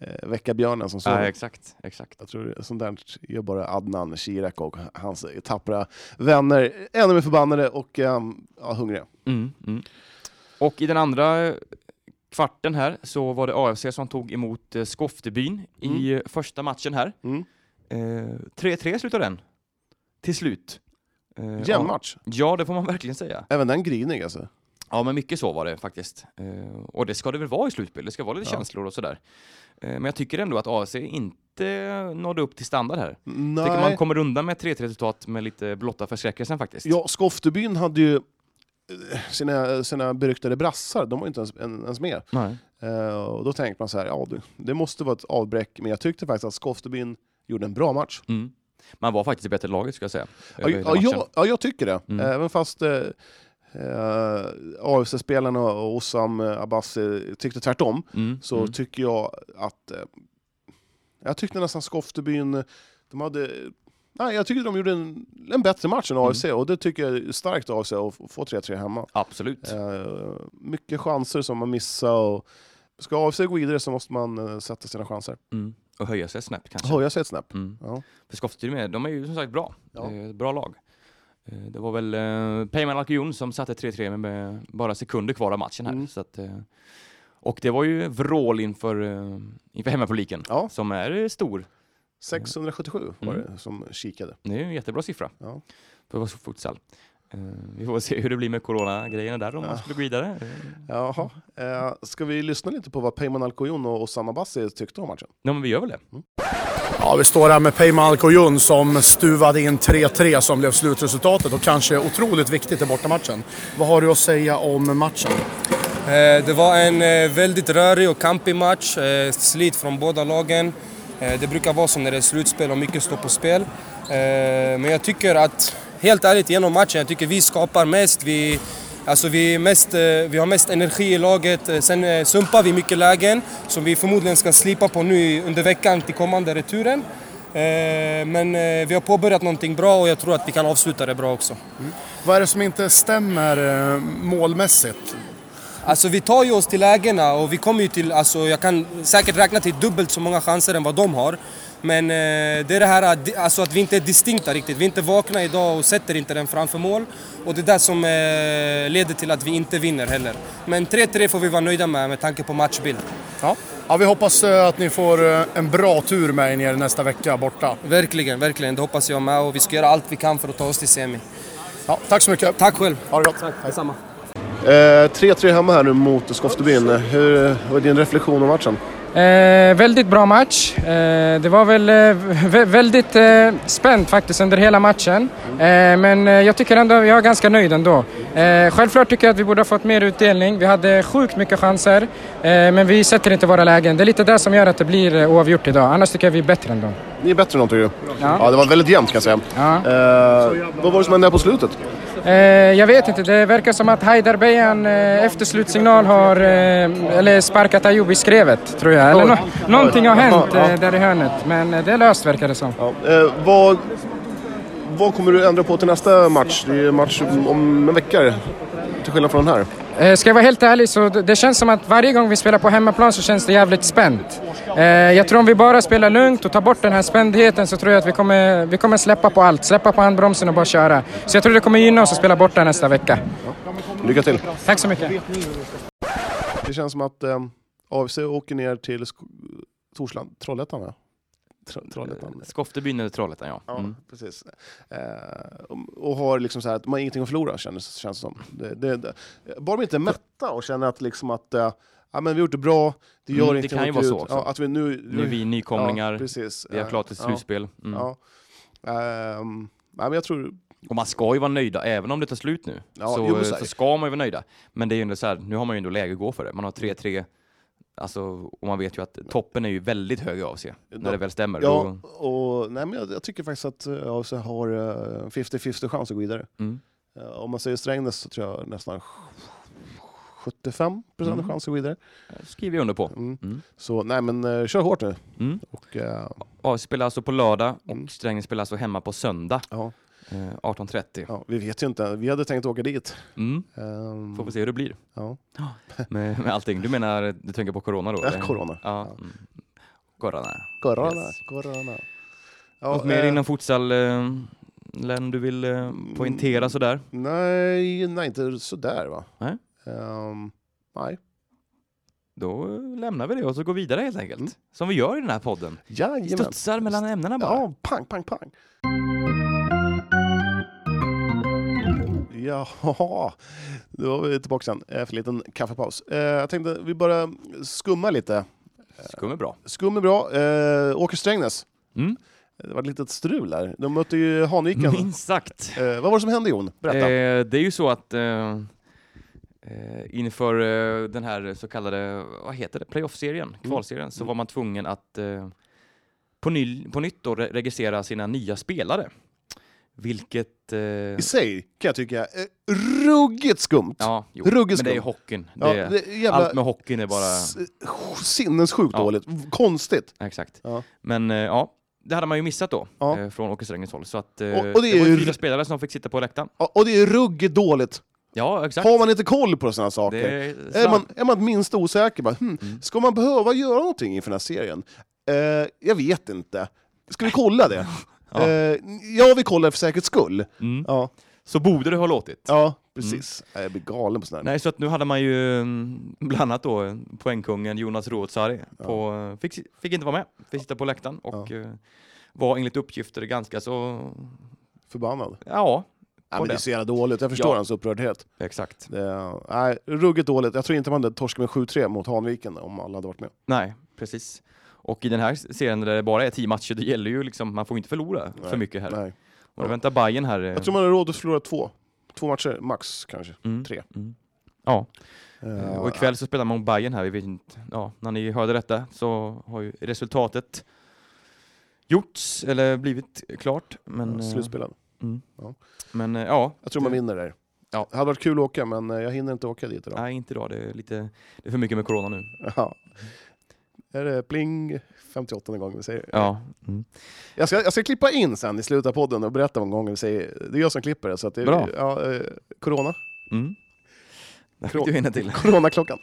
[SPEAKER 2] eh, väcka björnen som sover.
[SPEAKER 1] Nej, exakt, exakt.
[SPEAKER 2] Jag tror sånt där gör bara Adnan Shirak och hans tappra vänner ännu mer förbannade och eh, ja, hungriga.
[SPEAKER 1] Mm, mm. Och i den andra eh, kvarten här så var det AFC som tog emot eh, Skoftebyn i eh, första matchen här.
[SPEAKER 2] Mm.
[SPEAKER 1] Eh, 3-3 slutade den. Till slut. Eh,
[SPEAKER 2] Jämn
[SPEAKER 1] ja.
[SPEAKER 2] match.
[SPEAKER 1] ja, det får man verkligen säga.
[SPEAKER 2] Även den grynig alltså.
[SPEAKER 1] Ja, men mycket så var det faktiskt. Eh, och det ska det väl vara i slutspel, det ska vara lite
[SPEAKER 2] Ja.
[SPEAKER 1] känslor och sådär. Eh, men jag tycker ändå att AFC inte nådde upp till standard här.
[SPEAKER 2] Nej.
[SPEAKER 1] tycker man kommer undan med 3-3 resultat med lite blotta förskräckelsen faktiskt.
[SPEAKER 2] Ja, Skoftebyn hade ju eh, sina, sina beryktade brassar, de var ju inte ens, en, ens med.
[SPEAKER 1] Nej.
[SPEAKER 2] Eh, och då tänkte man så här, ja det, det måste vara ett avbräck, men jag tyckte faktiskt att Skoftebyn gjorde en bra match.
[SPEAKER 1] Mm. Man var faktiskt i bättre laget ska jag säga.
[SPEAKER 2] Ja,
[SPEAKER 1] över
[SPEAKER 2] ju-
[SPEAKER 1] hela
[SPEAKER 2] ja,
[SPEAKER 1] matchen.
[SPEAKER 2] jag, ja, jag tycker det.
[SPEAKER 1] Mm.
[SPEAKER 2] Även fast eh, eh, AFC-spelarna och Osam Abbas tyckte tvärtom,
[SPEAKER 1] Mm,
[SPEAKER 2] så
[SPEAKER 1] mm.
[SPEAKER 2] tycker jag att... Eh, jag tyckte nästan Skoftebyn, eh, de hade... Nej, jag tycker de gjorde en, en bättre match än AFC och det tycker jag är starkt av sig att få 3-3 hemma.
[SPEAKER 1] Absolut.
[SPEAKER 2] Eh, mycket chanser som man missar. Och ska AFC gå vidare så måste man eh, sätta sina chanser.
[SPEAKER 1] Mm. Och höja sig snabbt kanske.
[SPEAKER 2] Höja sig ett snäpp.
[SPEAKER 1] Mm.
[SPEAKER 2] Ja.
[SPEAKER 1] För Skofteström är, de är ju som sagt bra.
[SPEAKER 2] Ja.
[SPEAKER 1] Det är ett bra lag. Eh, Det var väl eh, Peyman Alkion som satte 3-3 med- med bara sekunder kvar av matchen här.
[SPEAKER 2] Mm.
[SPEAKER 1] Så att, eh, och det var ju vrål inför, eh, inför hemmapubliken
[SPEAKER 2] Ja.
[SPEAKER 1] som är eh, stor.
[SPEAKER 2] 677 var
[SPEAKER 1] Mm.
[SPEAKER 2] det som kikade.
[SPEAKER 1] Det är ju en jättebra siffra
[SPEAKER 2] Ja.
[SPEAKER 1] för att vara futsal. Eh, vi får se hur det blir med corona-grejerna där om man skulle gå vidare.
[SPEAKER 2] Jaha. Eh, ska vi lyssna lite på vad Peyman Alcoyon och Osama Bassi tyckte om matchen?
[SPEAKER 1] Ja, men vi gör väl det.
[SPEAKER 2] Mm.
[SPEAKER 3] Ja, vi står här med Peyman Alcoyun som stuvade in 3-3 som blev slutresultatet och kanske otroligt viktigt i bortamatchen. Vad har du att säga om matchen?
[SPEAKER 4] Eh, Det var en eh, väldigt rörig och kampig match. eh, Slit från båda lagen. Eh, Det brukar vara så när det är slutspel och mycket står på spel. Eh, Men jag tycker att, helt ärligt genom matchen, jag tycker vi skapar mest. Vi, alltså vi, är mest, eh, vi har mest energi i laget. Eh, Sen eh, sumpar vi mycket lägen som vi förmodligen ska slipa på nu i- under veckan till kommande returen. Eh, Men eh, vi har påbörjat någonting bra och jag tror att vi kan avsluta det bra också.
[SPEAKER 3] Vad är det som inte stämmer eh, målmässigt?
[SPEAKER 4] Alltså vi tar ju oss till lägena och vi kommer ju till, alltså jag kan säkert räkna till dubbelt så många chanser än vad de har. Men eh, det är det här att- alltså att vi inte är distinkta riktigt. Vi är inte vakna idag och sätter inte den framför mål. Och det är det som eh, leder till att vi inte vinner heller. Men 3-3 får vi vara nöjda med med tanke på matchbild.
[SPEAKER 3] Ja. ja, vi hoppas eh, att ni får eh, en bra tur med er ner nästa vecka borta.
[SPEAKER 4] Verkligen, verkligen. Det hoppas jag med och vi ska göra allt vi kan för att ta oss till semi.
[SPEAKER 3] Ja, tack så mycket.
[SPEAKER 4] Tack själv!
[SPEAKER 3] Ha det gott.
[SPEAKER 4] Detsamma.
[SPEAKER 2] Eh, 3-3 hemma här nu mot Skoftebyn. Hur vad är din reflektion om matchen?
[SPEAKER 5] Eh, väldigt bra match. Eh, det var väl eh, vä- väldigt eh, spänt faktiskt under hela matchen. Eh, men eh, jag tycker ändå, jag är ganska nöjd ändå. Eh, självklart tycker jag att vi borde ha fått mer utdelning. Vi hade sjukt mycket chanser, eh, men vi sätter inte våra lägen. Det är lite det som gör att det blir eh, oavgjort idag. Annars tycker jag vi är bättre ändå.
[SPEAKER 2] Ni är bättre än dem tycker du?
[SPEAKER 5] Ja.
[SPEAKER 2] det var väldigt jämnt kan jag säga.
[SPEAKER 5] Ja.
[SPEAKER 2] Eh, vad var det som hände här på slutet?
[SPEAKER 5] Eh, jag vet inte, det verkar som att Haidar Bejan eh, efter slutsignal har eh, eller sparkat Ayoub i skrevet, tror jag. Eller nå- någonting har hänt eh, där i hörnet, men eh, det är löst verkar det som.
[SPEAKER 2] Ja. Eh, vad, vad kommer du ändra på till nästa match? Det är match om en vecka, till skillnad från den här.
[SPEAKER 5] Eh, Ska jag vara helt ärlig så det det känns som att varje gång vi spelar på hemmaplan så känns det jävligt spänt. Eh, Jag tror om vi bara spelar lugnt och tar bort den här spändheten så tror jag att vi kommer, vi kommer släppa på allt. Släppa på handbromsen och bara köra. Så jag tror det kommer gynna oss att spela borta nästa vecka.
[SPEAKER 2] Lycka till!
[SPEAKER 5] Tack så mycket.
[SPEAKER 2] Det känns som att eh, AFC åker ner till Sk- Torsland, Trollhättan va? Tro- Trollhättan.
[SPEAKER 1] Skoftebyn eller Trollhättan, ja.
[SPEAKER 2] Ja,
[SPEAKER 1] Mm.
[SPEAKER 2] precis. Eh, och- och har liksom så här att man har ingenting att förlora, känns, känns det som. Det, det, det. Bara de inte är mätta och känner att, liksom att eh, ja, men vi har gjort det bra, det gör
[SPEAKER 1] Mm, det
[SPEAKER 2] ingenting
[SPEAKER 1] kan ju
[SPEAKER 2] att
[SPEAKER 1] vara
[SPEAKER 2] vi-
[SPEAKER 1] så också.
[SPEAKER 2] Ja, att vi nu,
[SPEAKER 1] Nu är vi nykomlingar,
[SPEAKER 2] ja, precis.
[SPEAKER 1] vi har klart ett
[SPEAKER 2] Ja,
[SPEAKER 1] slutspel. Mm.
[SPEAKER 2] Ja. Ehm, nej, men jag tror...
[SPEAKER 1] Och man ska ju vara nöjda, även om det tar slut nu.
[SPEAKER 2] Ja,
[SPEAKER 1] så,
[SPEAKER 2] jo, men
[SPEAKER 1] eh,
[SPEAKER 2] så är
[SPEAKER 1] så
[SPEAKER 2] det.
[SPEAKER 1] ska man ju vara nöjda. Men det är ju ändå så här, nu har man ju ändå läge att gå för det. Man har 3-3, alltså, och man vet ju att toppen är ju väldigt hög i AFC,
[SPEAKER 2] Ja.
[SPEAKER 1] när det väl stämmer.
[SPEAKER 2] Ja,
[SPEAKER 1] Då,
[SPEAKER 2] och, nej, men jag, jag tycker faktiskt att eh, AFC har eh, 50-50 chans att gå vidare.
[SPEAKER 1] mm.
[SPEAKER 2] Eh, Om man säger Strängnäs så tror jag nästan 75 procent
[SPEAKER 1] Mm.
[SPEAKER 2] chans att gå vidare.
[SPEAKER 1] skriver jag under på.
[SPEAKER 2] Mm.
[SPEAKER 1] Mm.
[SPEAKER 2] Så nej, men eh, kör hårt nu.
[SPEAKER 1] Mm.
[SPEAKER 2] Och, eh,
[SPEAKER 1] AFC spelar alltså på lördag
[SPEAKER 2] Mm.
[SPEAKER 1] och Strängnäs spelar alltså hemma på söndag
[SPEAKER 2] ja,
[SPEAKER 1] eh, 18.30.
[SPEAKER 2] ja, vi vet ju inte. Vi hade tänkt åka dit.
[SPEAKER 1] Mm.
[SPEAKER 2] Ehm,
[SPEAKER 1] Får vi se hur det blir
[SPEAKER 2] Ja.
[SPEAKER 1] med, med allting. Du menar, du tänker på corona då?
[SPEAKER 2] Ja,
[SPEAKER 1] eller?
[SPEAKER 2] corona.
[SPEAKER 1] Ja. Mm. Corona.
[SPEAKER 2] Corona,
[SPEAKER 1] Yes.
[SPEAKER 2] corona. Ja,
[SPEAKER 1] Något mer
[SPEAKER 2] eh,
[SPEAKER 1] inom futsal, eh, Len, du vill eh,
[SPEAKER 2] Mm.
[SPEAKER 1] poängtera sådär?
[SPEAKER 2] Nej, nej, inte sådär va?
[SPEAKER 1] Nej.
[SPEAKER 2] Ehm, nej.
[SPEAKER 1] Då eh, lämnar vi det och så går vi vidare helt enkelt.
[SPEAKER 2] Mm.
[SPEAKER 1] Som vi gör i den här podden.
[SPEAKER 2] Jajamän.
[SPEAKER 1] Studsar mellan ämnena bara.
[SPEAKER 2] Ja, pang, pang, pang. Jaha, då var vi tillbaka sen eh, för en liten kaffepaus. Eh, Jag tänkte vi bara skumma lite.
[SPEAKER 1] Skum är bra.
[SPEAKER 2] Skum är bra. Eh, Åker Strängnäs,
[SPEAKER 1] Mm.
[SPEAKER 2] det var ett litet strul där. De mötte ju Hanviken.
[SPEAKER 1] Minst sagt.
[SPEAKER 2] Eh, vad var det som hände Jon? Berätta.
[SPEAKER 1] Eh, det är ju så att eh, eh, inför eh, den här så kallade, vad heter det, playoff-serien, kvalserien, så
[SPEAKER 2] Mm.
[SPEAKER 1] var man tvungen att eh, på, ny, på nytt då re- registrera sina nya spelare. Vilket... Eh,
[SPEAKER 2] I sig kan jag tycka är ruggigt skumt.
[SPEAKER 1] ja, jo, men
[SPEAKER 2] ruggigt
[SPEAKER 1] det är ju
[SPEAKER 2] skumt.
[SPEAKER 1] hockeyn.
[SPEAKER 2] Ja,
[SPEAKER 1] Det,
[SPEAKER 2] det är jävla
[SPEAKER 1] Allt med hockeyn är bara...
[SPEAKER 2] s- sinnessjukt
[SPEAKER 1] Ja.
[SPEAKER 2] dåligt. Konstigt.
[SPEAKER 1] Ja, Exakt.
[SPEAKER 2] Ja.
[SPEAKER 1] Men eh, ja, det hade man ju missat då
[SPEAKER 2] Ja.
[SPEAKER 1] eh, från Åke Strängnäs håll. Så att, eh,
[SPEAKER 2] Och- och det
[SPEAKER 1] det,
[SPEAKER 2] är
[SPEAKER 1] var
[SPEAKER 2] ju-
[SPEAKER 1] ju fyra spelare som fick sitta på läktaren.
[SPEAKER 2] Ja, Och det är ruggigt dåligt.
[SPEAKER 1] Ja, exakt.
[SPEAKER 2] Har man inte koll på sådana saker?
[SPEAKER 1] Det är
[SPEAKER 2] Är
[SPEAKER 1] sant.
[SPEAKER 2] man, är man minst osäker, bara, hmm,
[SPEAKER 1] Mm.
[SPEAKER 2] ska man behöva göra någonting inför den här serien? Eh, jag vet inte. Ska vi kolla det?
[SPEAKER 1] Ja.
[SPEAKER 2] Eh, ja, vi kollar för säkerhets skull.
[SPEAKER 1] Mm.
[SPEAKER 2] Ja,
[SPEAKER 1] Så borde det ha låtit.
[SPEAKER 2] ja precis. Jag blir galen på sådana här.
[SPEAKER 1] Nej, så att nu hade man ju mm, bland annat då eh, poängkungen Jonas Ruotsari på, eh, fick, si- fick inte vara med, fick sitta på läktaren och eh, var enligt uppgifter ganska så,
[SPEAKER 2] Förbannad.
[SPEAKER 1] ja,
[SPEAKER 2] Ja,
[SPEAKER 1] på
[SPEAKER 2] men det
[SPEAKER 1] det.
[SPEAKER 2] är så jävla dåligt, jag förstår
[SPEAKER 1] Ja.
[SPEAKER 2] hans upprördhet.
[SPEAKER 1] Exakt.
[SPEAKER 2] Det är, Eh, nej, ruggigt dåligt. Jag tror inte man hade torskat med 7-3 mot Hanviken om alla hade varit med.
[SPEAKER 1] Nej, precis. Och i den här serien där det bara är tio matcher, det gäller ju liksom, man får inte förlora för
[SPEAKER 2] Nej,
[SPEAKER 1] mycket här.
[SPEAKER 2] Nej.
[SPEAKER 1] Och då väntar Bayern här. eh,
[SPEAKER 2] Jag tror man har råd att förlora två. Två matcher max kanske.
[SPEAKER 1] mm,
[SPEAKER 2] tre.
[SPEAKER 1] Mm. Ja,
[SPEAKER 2] Eh,
[SPEAKER 1] och ikväll så spelar man mot Bayern här. Vi vet inte, ja, när ni hörde detta så har ju resultatet gjorts, eller blivit klart. Men, eh,
[SPEAKER 2] Slutspelad.
[SPEAKER 1] men eh, ja,
[SPEAKER 2] Jag tror man vinner där.
[SPEAKER 1] Ja.
[SPEAKER 2] Det hade varit kul att åka, men eh, jag hinner inte åka dit idag.
[SPEAKER 1] nej inte idag. Det är lite, det är för mycket med corona nu.
[SPEAKER 2] Ja. Är det pling 58 gången vi säger
[SPEAKER 1] Ja. Mm.
[SPEAKER 2] Jag ska, jag ska klippa in sen i slutet av podden och berätta om gången vi säger... Det är jag som klipper det, så att det
[SPEAKER 1] Bra.
[SPEAKER 2] Ja, eh, corona.
[SPEAKER 1] Mm. Där fick du en till.
[SPEAKER 2] Coronaklockan.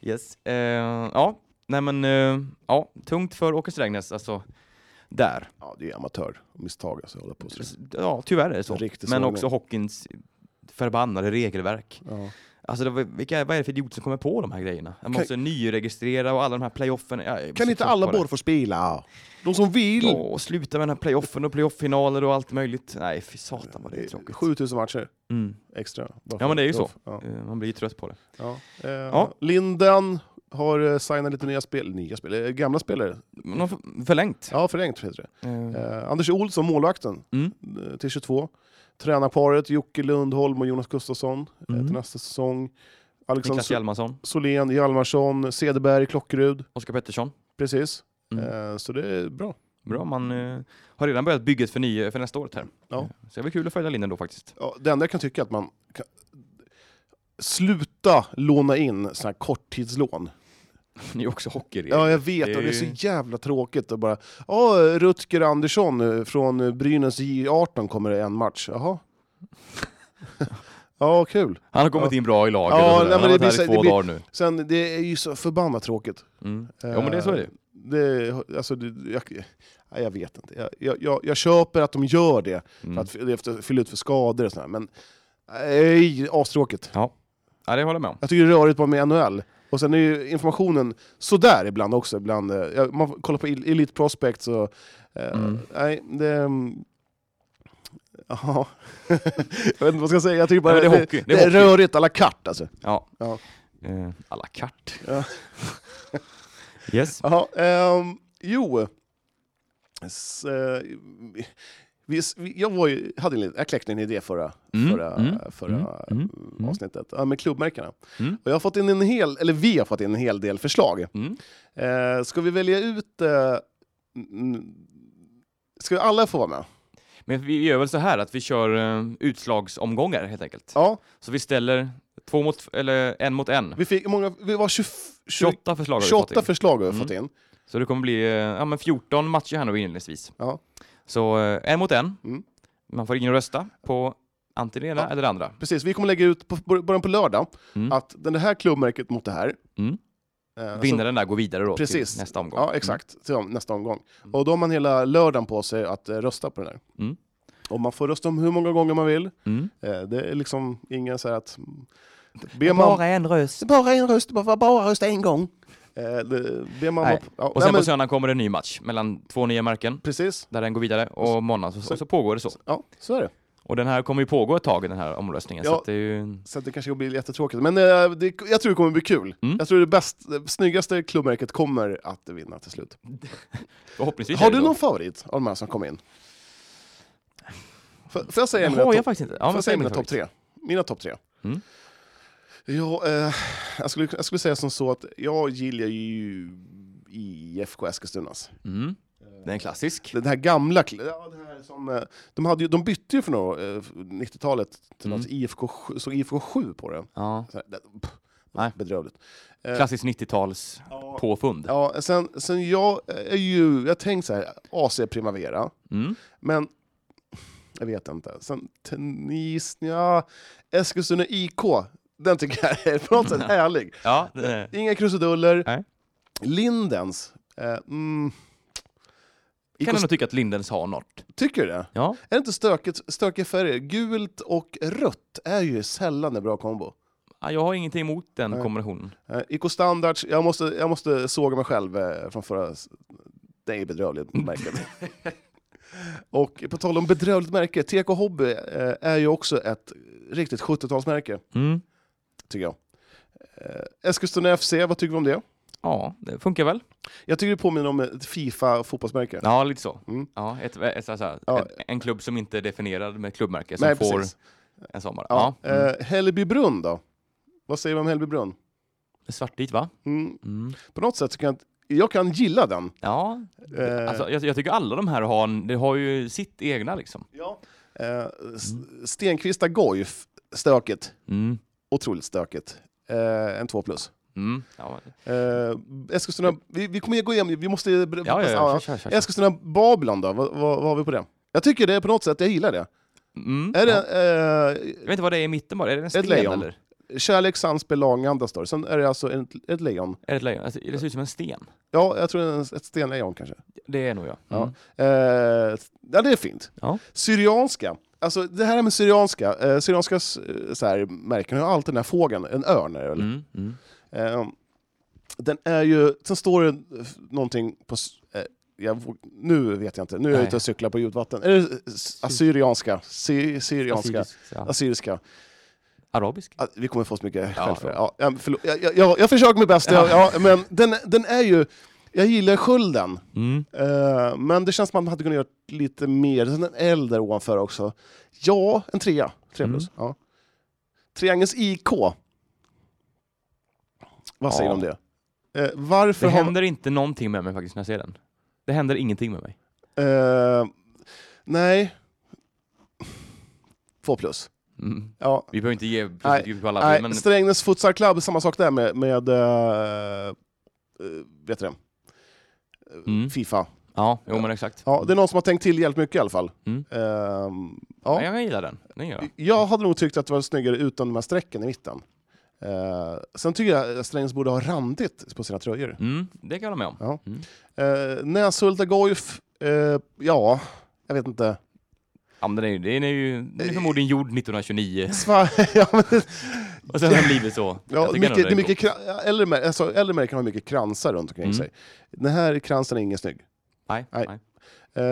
[SPEAKER 1] Yes. Eh, ja, nej men eh, ja, tungt för Åke Strängnäs alltså. Där.
[SPEAKER 2] Ja, det är ju amatörmisstag alltså, att hålla på och stressa.
[SPEAKER 1] Ja, tyvärr är det så.
[SPEAKER 2] En riktig
[SPEAKER 1] men
[SPEAKER 2] sågning.
[SPEAKER 1] också Hawkins förbannade regelverk.
[SPEAKER 2] Ja.
[SPEAKER 1] Alltså det var, vilka, vad är det för idioter som kommer på de här grejerna? Man måste nyregistrera och alla de här playoffen. Ja, jag är
[SPEAKER 2] Kan
[SPEAKER 1] så
[SPEAKER 2] inte
[SPEAKER 1] trött
[SPEAKER 2] alla
[SPEAKER 1] på det.
[SPEAKER 2] båda få spela? De som vill!
[SPEAKER 1] Ja, och sluta med den här playoffen och playoff-finaler och allt möjligt. Nej, fy satan vad det är tråkigt.
[SPEAKER 2] 7000 matcher
[SPEAKER 1] Mm.
[SPEAKER 2] extra. bara
[SPEAKER 1] Ja, men det är ju
[SPEAKER 2] för-
[SPEAKER 1] så.
[SPEAKER 2] Ja.
[SPEAKER 1] Eh, Man blir ju trött på det.
[SPEAKER 2] Ja. Eh,
[SPEAKER 1] Ja.
[SPEAKER 2] Linden har eh, signat lite nya spel, nya spel, eh, gamla spelare.
[SPEAKER 1] Man har f- förlängt.
[SPEAKER 2] Ja, förlängt heter det.
[SPEAKER 1] Eh,
[SPEAKER 2] Eh, Anders Olsson, målvakten,
[SPEAKER 1] Mm.
[SPEAKER 2] eh, till 22. Tränarparet Jocke Lundholm och Jonas Gustafsson eh,
[SPEAKER 1] Mm.
[SPEAKER 2] till nästa säsong. Alexander
[SPEAKER 1] Niklas
[SPEAKER 2] Sol-
[SPEAKER 1] Hjalmarsson,
[SPEAKER 2] Solén, Hjalmarsson, Cederberg, Klockerud.
[SPEAKER 1] Oskar Pettersson.
[SPEAKER 2] Precis.
[SPEAKER 1] Mm.
[SPEAKER 2] Eh, så det är bra.
[SPEAKER 1] Bra, man eh, har redan börjat bygget för, ny, för nästa år. Här.
[SPEAKER 2] Ja.
[SPEAKER 1] Eh, Så det blir kul att följa linjen då faktiskt.
[SPEAKER 2] Ja, det enda jag kan tycka är att man kan... Sluta låna in sådana här korttidslån.
[SPEAKER 1] Ni är också hockey.
[SPEAKER 2] Ja, jag vet.
[SPEAKER 1] det är
[SPEAKER 2] och det är
[SPEAKER 1] ju-
[SPEAKER 2] så jävla tråkigt att bara... Ja, Rutger Andersson eh, från eh, Brynäs J18 kommer det en match. Jaha. ja, kul.
[SPEAKER 1] Han har kommit in bra i laget.
[SPEAKER 2] Ja,
[SPEAKER 1] och sådär.
[SPEAKER 2] nej,
[SPEAKER 1] han
[SPEAKER 2] men
[SPEAKER 1] har
[SPEAKER 2] det
[SPEAKER 1] varit
[SPEAKER 2] blir
[SPEAKER 1] här
[SPEAKER 2] så-
[SPEAKER 1] i
[SPEAKER 2] det
[SPEAKER 1] två
[SPEAKER 2] blir-
[SPEAKER 1] dagar nu.
[SPEAKER 2] Sen, det är ju så förbannat tråkigt.
[SPEAKER 1] Mm. Ja, men det så är
[SPEAKER 2] Eh.
[SPEAKER 1] det.
[SPEAKER 2] det alltså, det, jag, nej, jag vet inte. Jag, jag, jag, jag köper att de gör det,
[SPEAKER 1] Mm.
[SPEAKER 2] för att f- efter- fylla ut för skador och sådär. Men nej, astråkigt.
[SPEAKER 1] Ja, det håller jag med om.
[SPEAKER 2] Jag tycker det är rörigt bara med NHL. Och sen är ju informationen sådär ibland också. Ibland, eh, jag- man får- kollar på El- Elite Prospects och... Eh,
[SPEAKER 1] Mm.
[SPEAKER 2] Nej, det... mm, Ja. jag vet inte vad jag ska säga. Jag tycker bara
[SPEAKER 1] Nej, men det är hockey.
[SPEAKER 2] det,
[SPEAKER 1] Det är
[SPEAKER 2] är
[SPEAKER 1] hockey.
[SPEAKER 2] rörigt à la carte alltså.
[SPEAKER 1] Ja.
[SPEAKER 2] Ja.
[SPEAKER 1] Eh, à la carte.
[SPEAKER 2] Ja.
[SPEAKER 1] yes.
[SPEAKER 2] Jaha, ehm, jo. S, eh, vi, vi, jag, var ju, hade en, liten- jag kläckte en idé förra,
[SPEAKER 1] Mm,
[SPEAKER 2] förra,
[SPEAKER 1] mm,
[SPEAKER 2] förra
[SPEAKER 1] mm, mm, mm.
[SPEAKER 2] avsnittet, ja, med klubbmärkena.
[SPEAKER 1] Mm.
[SPEAKER 2] Och jag har fått in en hel, eller vi har fått in en hel del förslag.
[SPEAKER 1] Mm.
[SPEAKER 2] Eh, ska vi välja ut... Eh, mm, ska vi alla få vara med?
[SPEAKER 1] Men vi gör väl så här att vi kör eh, utslagsomgångar helt enkelt.
[SPEAKER 2] Ja,
[SPEAKER 1] Så vi ställer två mot, eller en mot en.
[SPEAKER 2] vi fick hur många, vi var 20,
[SPEAKER 1] 28
[SPEAKER 2] 28,
[SPEAKER 1] förslag har vi fått in.
[SPEAKER 2] förslag har vi
[SPEAKER 1] Mm.
[SPEAKER 2] fått in.
[SPEAKER 1] Så det kommer bli eh, ja, men 14 matcher här nu inledningsvis.
[SPEAKER 2] Ja.
[SPEAKER 1] Så eh, en mot en.
[SPEAKER 2] Mm.
[SPEAKER 1] Man får ingen rösta på antingen det ena
[SPEAKER 2] Ja.
[SPEAKER 1] eller det andra.
[SPEAKER 2] Precis, vi kommer lägga ut på början på lördag
[SPEAKER 1] Mm.
[SPEAKER 2] att det här klubbmärket mot det här.
[SPEAKER 1] Mm.
[SPEAKER 2] eh, så-
[SPEAKER 1] Vinnaren där går vidare då
[SPEAKER 2] Precis.
[SPEAKER 1] till nästa omgång. Mm.
[SPEAKER 2] Ja, exakt. Till om- nästa omgång. Och då har man hela lördagen på sig att eh, rösta på den där.
[SPEAKER 1] Mm.
[SPEAKER 2] Och man får rösta om hur många gånger man vill.
[SPEAKER 1] Mm.
[SPEAKER 2] Eh, det är liksom ingen så här att... Ber
[SPEAKER 1] Bara en röst.
[SPEAKER 2] Det är bara en röst, man får bara rösta en gång. Eh, det, ber man
[SPEAKER 1] Nej.
[SPEAKER 2] vara- ja,
[SPEAKER 1] Och
[SPEAKER 2] nej,
[SPEAKER 1] sen
[SPEAKER 2] men,
[SPEAKER 1] på söndagen kommer det en ny match mellan två nya märken
[SPEAKER 2] Precis,
[SPEAKER 1] där den går vidare och måndag så, så pågår det så.
[SPEAKER 2] ja så är det.
[SPEAKER 1] Och den här kommer ju pågå ett tag, den här omröstningen.
[SPEAKER 2] Ja.
[SPEAKER 1] Så att det är ju...
[SPEAKER 2] Så att det kanske blir jättetråkigt. Men eh, det, jag tror det kommer bli kul.
[SPEAKER 1] Mm.
[SPEAKER 2] Jag tror det bäst, det snyggaste klubbmärket kommer att vinna till slut.
[SPEAKER 1] Förhoppningsvis
[SPEAKER 2] Har
[SPEAKER 1] är det
[SPEAKER 2] du
[SPEAKER 1] så.
[SPEAKER 2] någon favorit av de här som kom in? F- Får jag säga
[SPEAKER 1] Det
[SPEAKER 2] mina
[SPEAKER 1] har
[SPEAKER 2] topp
[SPEAKER 1] jag faktiskt inte. Ja,
[SPEAKER 2] Får
[SPEAKER 1] men
[SPEAKER 2] jag säga
[SPEAKER 1] säg
[SPEAKER 2] mina
[SPEAKER 1] då
[SPEAKER 2] topp
[SPEAKER 1] faktiskt.
[SPEAKER 2] tre? Mina topp tre.
[SPEAKER 1] Mm.
[SPEAKER 2] Ja, eh, jag, skulle, jag skulle säga som så att jag gillar ju IFK Eskilstunas.
[SPEAKER 1] Mm. Det är en klassisk.
[SPEAKER 2] alltså. Den här gamla... kl- Ja, det här som, eh, de, hade ju, de bytte ju från eh, 90-talet till
[SPEAKER 1] Mm.
[SPEAKER 2] något IFK, sju- såg IFK 7 på det.
[SPEAKER 1] Ja.
[SPEAKER 2] Så här, det- pff,
[SPEAKER 1] Nej.
[SPEAKER 2] Bedrövligt.
[SPEAKER 1] Klassiskt 90-tals
[SPEAKER 2] Ja.
[SPEAKER 1] påfund.
[SPEAKER 2] Ja, sen, sen jag är ju... Jag tänkte så här, AC Primavera,
[SPEAKER 1] Mm.
[SPEAKER 2] men... Jag vet inte. Sen Tennis... Ja, Eskilstuna IK. Den tycker jag är på något sätt härlig.
[SPEAKER 1] Ja, det...
[SPEAKER 2] Inga krusiduller.
[SPEAKER 1] Nej.
[SPEAKER 2] Lindens. Eh, mm.
[SPEAKER 1] kan
[SPEAKER 2] Ikos,
[SPEAKER 1] jag nog tycka att Lindens har något.
[SPEAKER 2] tycker du det?
[SPEAKER 1] Ja.
[SPEAKER 2] Är det inte stökigt, stökiga färger? Gult och rött är ju sällan en bra kombo.
[SPEAKER 1] Ja, Jag har ingenting emot den
[SPEAKER 2] Nej.
[SPEAKER 1] kombinationen.
[SPEAKER 2] Eh, IK Standards, jag måste, jag måste såga mig själv eh, från förra... s- Det är bedrövligt, märket. Och på tal om bedrövligt märke, TK Hobby eh, är ju också ett riktigt 70-talsmärke,
[SPEAKER 1] Mm.
[SPEAKER 2] tycker jag. Eh, Eskilstuna FC, vad tycker vi om det?
[SPEAKER 1] Ja, det funkar väl?
[SPEAKER 2] Jag tycker det påminner om ett Fifa-fotbollsmärke.
[SPEAKER 1] Ja, lite så.
[SPEAKER 2] Mm.
[SPEAKER 1] Ja, ett, ett, så- så-
[SPEAKER 2] Ja.
[SPEAKER 1] ett- en klubb som inte är definierad med klubbmärke som
[SPEAKER 2] Nej,
[SPEAKER 1] får
[SPEAKER 2] precis.
[SPEAKER 1] en sommar.
[SPEAKER 2] Ja.
[SPEAKER 1] Ja. Mm.
[SPEAKER 2] Eh, Hällbybrunn då? Vad säger vi om Hällbybrunn?
[SPEAKER 1] Svartvit va?
[SPEAKER 2] Mm.
[SPEAKER 1] Mm.
[SPEAKER 2] På något sätt så kan jag, jag kan gilla den.
[SPEAKER 1] Ja,
[SPEAKER 2] Eh,
[SPEAKER 1] alltså, jag, jag tycker alla de här har, en, det har ju sitt egna liksom.
[SPEAKER 2] ja. eh, S- Stenkvista Goif, stökigt.
[SPEAKER 1] Mm.
[SPEAKER 2] Otroligt stökigt. Eh, en 2 plus.
[SPEAKER 1] Mm. Ja, men-
[SPEAKER 2] Eh, Eskilstuna, vi, vi kommer att gå igenom, vi måste...
[SPEAKER 1] ja, ja, ja. Kör, kör, kör.
[SPEAKER 2] Eskilstuna Babylon då, vad, vad, vad har vi på det? Jag tycker det är på något sätt, jag gillar det.
[SPEAKER 1] Mm.
[SPEAKER 2] Är
[SPEAKER 1] ja.
[SPEAKER 2] det eh,
[SPEAKER 1] Jag vet inte vad det är i mitten bara, är det en sten
[SPEAKER 2] lejon.
[SPEAKER 1] eller?
[SPEAKER 2] kärlek, samspel, lagandas då? Sen är det alltså ett, ett lejon.
[SPEAKER 1] Är det ett lejon? Alltså, det ser ut som en sten.
[SPEAKER 2] Ja, jag tror det är ett stenlejon kanske.
[SPEAKER 1] Det är nog jag.
[SPEAKER 2] Ja.
[SPEAKER 1] Mm.
[SPEAKER 2] Eh, ja, det är fint.
[SPEAKER 1] Ja.
[SPEAKER 2] Syrianska. Alltså det här med syrianska, eh, syrianska eh, så här, märken har alltid den här fågeln, en örn är det väl?
[SPEAKER 1] Mm. Mm.
[SPEAKER 2] Eh, den är ju, sen står det eh, någonting på, s- eh, jag, våg- nu vet jag inte, nu är jag
[SPEAKER 1] Nej.
[SPEAKER 2] ute och cyklar på ljudvatten. Är det s- assyrianska? Sy, syrianska?
[SPEAKER 1] Assyrisk, ja.
[SPEAKER 2] Assyriska.
[SPEAKER 1] Arabisk?
[SPEAKER 2] Ah, Vi kommer få så mycket
[SPEAKER 1] Ja,
[SPEAKER 2] skäll för det.
[SPEAKER 1] ja.
[SPEAKER 2] Ja, ja, men förlåt. jag, jag, jag, jag försöker mitt bästa, ja. men den, den är ju, jag gillar skölden.
[SPEAKER 1] Mm.
[SPEAKER 2] Eh, men det känns som att man hade kunnat göra lite mer. Sen en eld där ovanför också. Ja, en trea. Tre
[SPEAKER 1] Mm.
[SPEAKER 2] plus. Ja. Triangels IK. Vad säger
[SPEAKER 1] Ja.
[SPEAKER 2] du om det? Eh, varför
[SPEAKER 1] Det
[SPEAKER 2] har...
[SPEAKER 1] händer inte någonting med mig faktiskt när jag ser den. Det händer ingenting med mig.
[SPEAKER 2] Eh, nej. Två plus.
[SPEAKER 1] Mm.
[SPEAKER 2] Ja.
[SPEAKER 1] Vi behöver inte ge
[SPEAKER 2] Nej,
[SPEAKER 1] betyg på alla,
[SPEAKER 2] nej,
[SPEAKER 1] men
[SPEAKER 2] Strängnäs Futsal Club, samma sak där med, med eh, eh, vet du det?
[SPEAKER 1] Mm.
[SPEAKER 2] Fifa.
[SPEAKER 1] Ja, jo men exakt.
[SPEAKER 2] Ja, det är någon som har tänkt till jävligt mycket i alla fall.
[SPEAKER 1] Mm.
[SPEAKER 2] Ehm,
[SPEAKER 1] Ja.
[SPEAKER 2] ja.
[SPEAKER 1] Jag gillar den. Den gillar jag.
[SPEAKER 2] Jag hade nog tyckt att det var snyggare utan de här strecken i mitten. Eh, sen tycker jag att Strängnäs borde ha randigt på sina tröjor.
[SPEAKER 1] Mm, det kan jag hålla med om.
[SPEAKER 2] Ja.
[SPEAKER 1] Mm.
[SPEAKER 2] Eh, Näshulta Goif, eh, ja, jag vet inte.
[SPEAKER 1] Ja, men den är ju, den är ju den är förmodligen gjord 1929
[SPEAKER 2] Sva- ja, men,
[SPEAKER 1] och sen har den blivit så.
[SPEAKER 2] ja,
[SPEAKER 1] Jag tycker
[SPEAKER 2] mycket,
[SPEAKER 1] ändå
[SPEAKER 2] det
[SPEAKER 1] den god.
[SPEAKER 2] är mycket kran- ja, äldre, mär- alltså, äldre märken har mycket kransar runt omkring
[SPEAKER 1] Mm.
[SPEAKER 2] sig. Den här kransen är ingen snygg.
[SPEAKER 1] Nej,
[SPEAKER 2] Nej.
[SPEAKER 1] nej.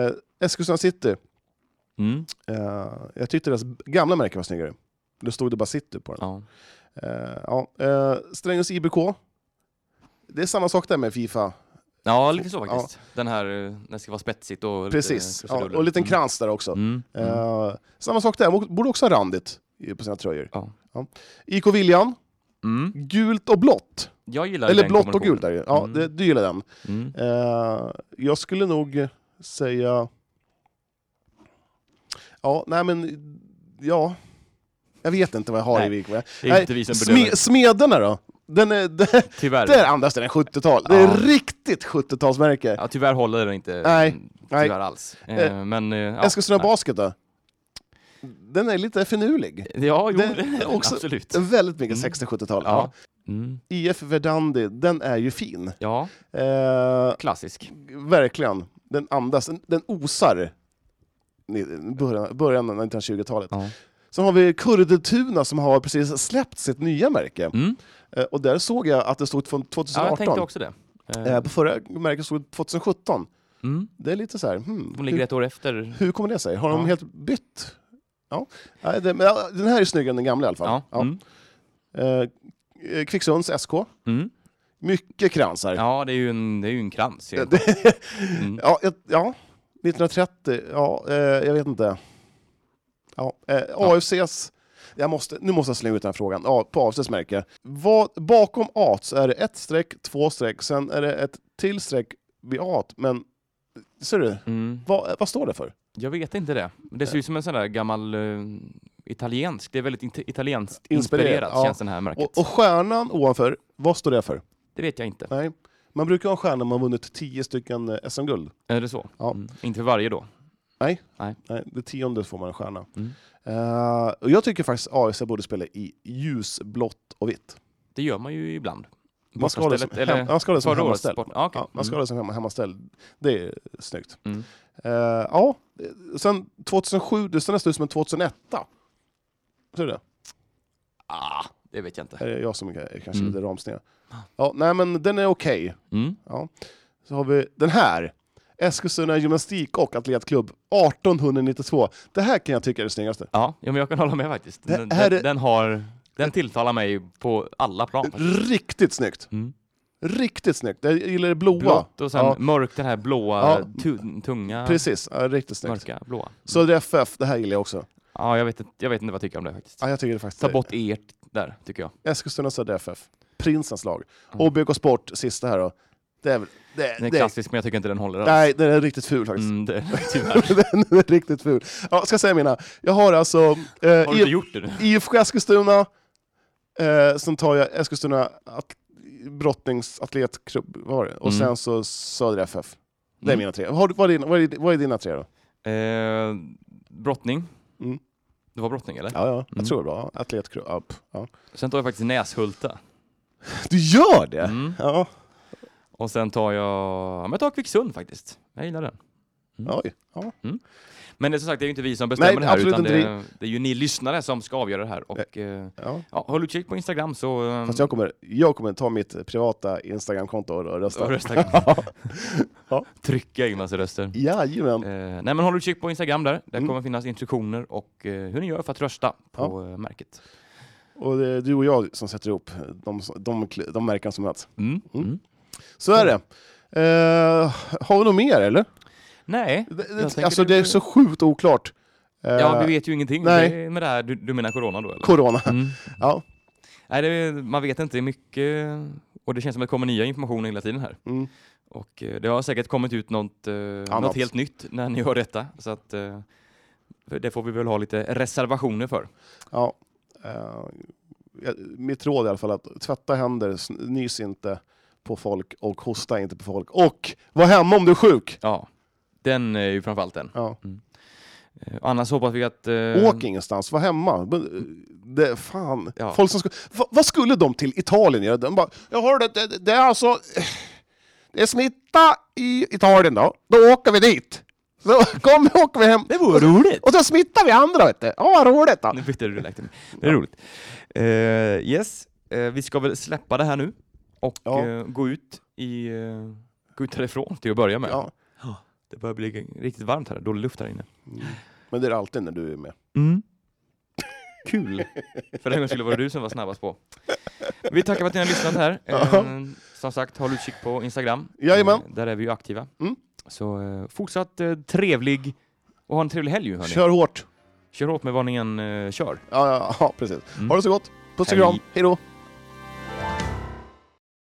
[SPEAKER 2] Eh, Eskilstuna City,
[SPEAKER 1] Mm,
[SPEAKER 2] eh, jag tyckte deras gamla märke var snyggare. Då stod det bara City på den.
[SPEAKER 1] ja.
[SPEAKER 2] Eh, ja. eh, Strängnäs IBK, det är samma sak där med Fifa.
[SPEAKER 1] ja, lite så faktiskt. Den här, eh, när det ska vara spetsigt och
[SPEAKER 2] Precis,
[SPEAKER 1] lite
[SPEAKER 2] ja,
[SPEAKER 1] krusiduller.
[SPEAKER 2] och en liten krans där också.
[SPEAKER 1] Mm. Mm. Mm.
[SPEAKER 2] Eh, samma sak där, borde också ha randigt i- på sina tröjor.
[SPEAKER 1] Ja.
[SPEAKER 2] IK Viljan,
[SPEAKER 1] Mm.
[SPEAKER 2] gult och blått.
[SPEAKER 1] Jag gillar
[SPEAKER 2] Eller
[SPEAKER 1] den
[SPEAKER 2] blått och gult
[SPEAKER 1] kombinationen.
[SPEAKER 2] är det ju. Ja,
[SPEAKER 1] Mm.
[SPEAKER 2] det, du gillar den.
[SPEAKER 1] Mm.
[SPEAKER 2] Eh, jag skulle nog säga... Ja, nej men... Ja. Jag vet inte vad jag har
[SPEAKER 1] Nej,
[SPEAKER 2] i VK.
[SPEAKER 1] Det är inte vi som bedömer,
[SPEAKER 2] Sme, smederna då? Den är, där,
[SPEAKER 1] tyvärr.
[SPEAKER 2] där andas den en 70-tal. Det är
[SPEAKER 1] Ja.
[SPEAKER 2] riktigt 70-talsmärke.
[SPEAKER 1] Ja, tyvärr håller den inte
[SPEAKER 2] Nej,
[SPEAKER 1] mm,
[SPEAKER 2] nej.
[SPEAKER 1] tyvärr alls. Eh,
[SPEAKER 2] Eh,
[SPEAKER 1] men, eh, ja,
[SPEAKER 2] Eskilstuna
[SPEAKER 1] nej.
[SPEAKER 2] Basket då? Den är lite finurlig.
[SPEAKER 1] Ja, jo,
[SPEAKER 2] Den
[SPEAKER 1] det,
[SPEAKER 2] är också-
[SPEAKER 1] absolut.
[SPEAKER 2] Väldigt mycket
[SPEAKER 1] Mm.
[SPEAKER 2] 60-70-tal. Ja.
[SPEAKER 1] Ja. Mm.
[SPEAKER 2] IF Verdandi, den är ju fin.
[SPEAKER 1] ja,
[SPEAKER 2] Eh,
[SPEAKER 1] klassisk.
[SPEAKER 2] verkligen. Den andas, den, den osar ni- början, början av 1920-talet.
[SPEAKER 1] Ja.
[SPEAKER 2] Sen har vi Kurdetuna som har precis släppt sitt nya märke.
[SPEAKER 1] Mm.
[SPEAKER 2] Eh, och där såg jag att det stod från
[SPEAKER 1] Ja, jag
[SPEAKER 2] 2018.
[SPEAKER 1] tänkte också det. Eh,
[SPEAKER 2] eh, på förra märket stod det 2017.
[SPEAKER 1] mm.
[SPEAKER 2] Det är lite så här, hmm,
[SPEAKER 1] De ligger
[SPEAKER 2] hur,
[SPEAKER 1] ett år efter.
[SPEAKER 2] hur kommer det sig? Har de
[SPEAKER 1] Ja.
[SPEAKER 2] helt bytt? Ja. Nej, det, men, ja, den här är snyggare än den gamla i alla fall.
[SPEAKER 1] Ja.
[SPEAKER 2] Ja.
[SPEAKER 1] Mm.
[SPEAKER 2] Eh, Kvicksunds SK.
[SPEAKER 1] Mm.
[SPEAKER 2] Mycket kransar.
[SPEAKER 1] ja, det är ju en, det är ju en krans.
[SPEAKER 2] Ja,
[SPEAKER 1] helt
[SPEAKER 2] det-
[SPEAKER 1] klart. Mm.
[SPEAKER 2] Ja, jag- ja 1930, ja, eh, jag vet inte. Ja, eh, AFCs, jag måste, nu måste jag slänga ut den här frågan, ja, på AFCs märke. Vad, bakom A så är det ett streck, två streck, sen är det ett till streck vid A, men ser du?
[SPEAKER 1] Mm.
[SPEAKER 2] Vad, vad står det för?
[SPEAKER 1] Jag vet inte det. Det ser ut som en sån där gammal eh, italiensk. Det är väldigt int- italienskt
[SPEAKER 2] Inspirerat,
[SPEAKER 1] inspirerat,
[SPEAKER 2] ja.
[SPEAKER 1] känns den här märket.
[SPEAKER 2] Och, och stjärnan ovanför, vad står det för?
[SPEAKER 1] Det vet jag inte.
[SPEAKER 2] Nej, man brukar ha en stjärna om man vunnit 10 stycken eh, SM-guld.
[SPEAKER 1] Är det så?
[SPEAKER 2] Ja.
[SPEAKER 1] Mm. Inte för varje då?
[SPEAKER 2] Nej, det tionde får man en stjärna.
[SPEAKER 1] Mm.
[SPEAKER 2] Eh, och jag tycker faktiskt AFC borde spela i ljusblått och vitt.
[SPEAKER 1] Det gör man ju ibland.
[SPEAKER 2] Man ska ha det som,
[SPEAKER 1] Bortastället, eller
[SPEAKER 2] hem, man ska ha det som
[SPEAKER 1] förra årets
[SPEAKER 2] hemmaställ.
[SPEAKER 1] sport. Ja, okej.
[SPEAKER 2] Ja, man ska ha det som hemma, hemmaställ. Det är snyggt.
[SPEAKER 1] Mm.
[SPEAKER 2] Eh, ja, eh, sen 2007, det ser nästan ut som en 2001. Ser du det?
[SPEAKER 1] Ah, det vet jag inte.
[SPEAKER 2] Här är jag som är kanske
[SPEAKER 1] Mm.
[SPEAKER 2] lite ramsned. Ja, nej men den är okej.
[SPEAKER 1] Mm.
[SPEAKER 2] Så har vi den här. Eskilstuna Gymnastik och Atletklubb 1892. Det här kan jag tycka är det snyggaste.
[SPEAKER 1] Ja, ja, men jag kan hålla med faktiskt.
[SPEAKER 2] Det
[SPEAKER 1] Den,
[SPEAKER 2] här
[SPEAKER 1] den,
[SPEAKER 2] är-
[SPEAKER 1] den, har, den tilltalar mig på alla plan. faktiskt.
[SPEAKER 2] Riktigt snyggt!
[SPEAKER 1] Mm.
[SPEAKER 2] Riktigt snyggt. Jag gillar det blåa.
[SPEAKER 1] Blått och sen
[SPEAKER 2] ja,
[SPEAKER 1] mörkt, den här blåa,
[SPEAKER 2] Ja.
[SPEAKER 1] tu- tunga,
[SPEAKER 2] precis, ja, riktigt snyggt.
[SPEAKER 1] mörka, blåa.
[SPEAKER 2] Södra FF, det här gillar jag också.
[SPEAKER 1] Ja, jag vet, inte- jag vet inte vad jag tycker om det faktiskt.
[SPEAKER 2] Ja, jag tycker det faktiskt.
[SPEAKER 1] Ta bort ert där, tycker jag.
[SPEAKER 2] Eskilstuna Södra FF. Prinsens lag. OBK Sport, sista här då. Det är, väl- det,
[SPEAKER 1] Den Mm. är
[SPEAKER 2] det,
[SPEAKER 1] klassisk, men jag tycker inte den håller alls.
[SPEAKER 2] nej, den är riktigt ful faktiskt.
[SPEAKER 1] Mm, det, tyvärr.
[SPEAKER 2] den är riktigt ful. Ja, ska jag säga mina. Jag har alltså eh,
[SPEAKER 1] Har du inte
[SPEAKER 2] I-
[SPEAKER 1] gjort det nu?
[SPEAKER 2] IFK Eskilstuna, eh, sen tar jag Eskilstuna at, Brottnings Atletklubb, vad var det? Och
[SPEAKER 1] Mm.
[SPEAKER 2] sen så Södra FF. Det är
[SPEAKER 1] Mm.
[SPEAKER 2] mina tre. Har, du- vad, är dina, vad, är, vad är dina tre då?
[SPEAKER 1] Eh, brottning.
[SPEAKER 2] Mm.
[SPEAKER 1] Det var brottning, eller?
[SPEAKER 2] Ja, ja, jag
[SPEAKER 1] Mm.
[SPEAKER 2] tror det är bra. Atletklubb, ja, p- ja.
[SPEAKER 1] Sen tar jag faktiskt Näshulta.
[SPEAKER 2] Du gör det?
[SPEAKER 1] Mm.
[SPEAKER 2] Ja,
[SPEAKER 1] Och sen tar jag... ja, Men jag tar Kvicksund faktiskt. Jag gillar den. Mm.
[SPEAKER 2] oj. Ja.
[SPEAKER 1] Men det är som sagt, det är ju inte vi som bestämmer
[SPEAKER 2] Nej,
[SPEAKER 1] det här,
[SPEAKER 2] absolut
[SPEAKER 1] utan
[SPEAKER 2] inte
[SPEAKER 1] det, är- det är ju ni lyssnare som ska avgöra det här. Och, eh,
[SPEAKER 2] Ja.
[SPEAKER 1] ja, håll utkik på Instagram så... eh,
[SPEAKER 2] Fast jag kommer, jag kommer ta mitt privata Instagramkonto och och
[SPEAKER 1] och
[SPEAKER 2] rösta.
[SPEAKER 1] rösta.
[SPEAKER 2] Ja.
[SPEAKER 1] Trycka in massa röster.
[SPEAKER 2] Jajamän.
[SPEAKER 1] Eh, nej men håll utkik på Instagram där. Där
[SPEAKER 2] Mm.
[SPEAKER 1] kommer finnas instruktioner och eh, hur ni gör för att rösta på eh, märket.
[SPEAKER 2] Och det är du och jag som sätter ihop de, de, kl- de märken som möts.
[SPEAKER 1] Mm. Mm.
[SPEAKER 2] Så är det. Eh, har vi något mer eller?
[SPEAKER 1] Nej,
[SPEAKER 2] Det,
[SPEAKER 1] Mm. jag
[SPEAKER 2] det,
[SPEAKER 1] tänker
[SPEAKER 2] alltså det är så sjukt oklart. Eh,
[SPEAKER 1] Ja, vi vet ju ingenting.
[SPEAKER 2] nej.
[SPEAKER 1] Det är med det här, du, du menar corona då eller?
[SPEAKER 2] Corona.
[SPEAKER 1] Mm.
[SPEAKER 2] Ja.
[SPEAKER 1] Nej, det, är- man vet inte mycket och det känns som att det kommer nya information hela tiden här.
[SPEAKER 2] Mm.
[SPEAKER 1] Och eh, det har säkert kommit ut något, eh, något helt nytt när ni hör detta. Så att, eh, det får vi väl ha lite reservationer för.
[SPEAKER 2] Ja. Eh, jag- mitt råd är i alla fall att tvätta händer, sn- nys inte på folk och hosta inte på folk. Och var hemma om du är sjuk!
[SPEAKER 1] Ja, den är ju framförallt den.
[SPEAKER 2] Ja.
[SPEAKER 1] Eh, Annars hoppas vi att... eh,
[SPEAKER 2] Åk ingenstans, var hemma. Men, eh, Det, fan.
[SPEAKER 1] Ja.
[SPEAKER 2] Folk som skulle, va, vad skulle de till Italien göra? De bara, jag hörde, det, det- det är alltså... Det är smitta i Italien då, då åker vi dit. Så kom, åker vi hem.
[SPEAKER 1] Det vore roligt!
[SPEAKER 2] Och så smittar vi andra vet du. Ja, vad roligt då.
[SPEAKER 1] Nu bytte du läktare. Det är roligt. Eh, yes, eh, vi ska väl släppa det här nu och
[SPEAKER 2] Ja.
[SPEAKER 1] eh, gå ut i... eh, gå ut härifrån till att börja med.
[SPEAKER 2] Ja,
[SPEAKER 1] Det börjar bli riktigt varmt här, dålig luft här inne.
[SPEAKER 2] men det är det alltid när du är med.
[SPEAKER 1] Kul! För den gången skulle det vara du som var snabbast på. Vi tackar för att ni har lyssnat här. Eh, som sagt, håll utkik på Instagram.
[SPEAKER 2] Jajamän.
[SPEAKER 1] Eh, där är vi ju aktiva.
[SPEAKER 2] Mm.
[SPEAKER 1] Så eh, fortsatt eh, trevlig och ha en trevlig helg ju, hörni. Kör,
[SPEAKER 2] Kör hårt.
[SPEAKER 1] Kör åt med vad ni än eh, kör.
[SPEAKER 2] Ja, ja, ja precis.
[SPEAKER 1] Mm.
[SPEAKER 2] Ha det så gott. Puss och
[SPEAKER 1] Hej.
[SPEAKER 2] kram. Hej då.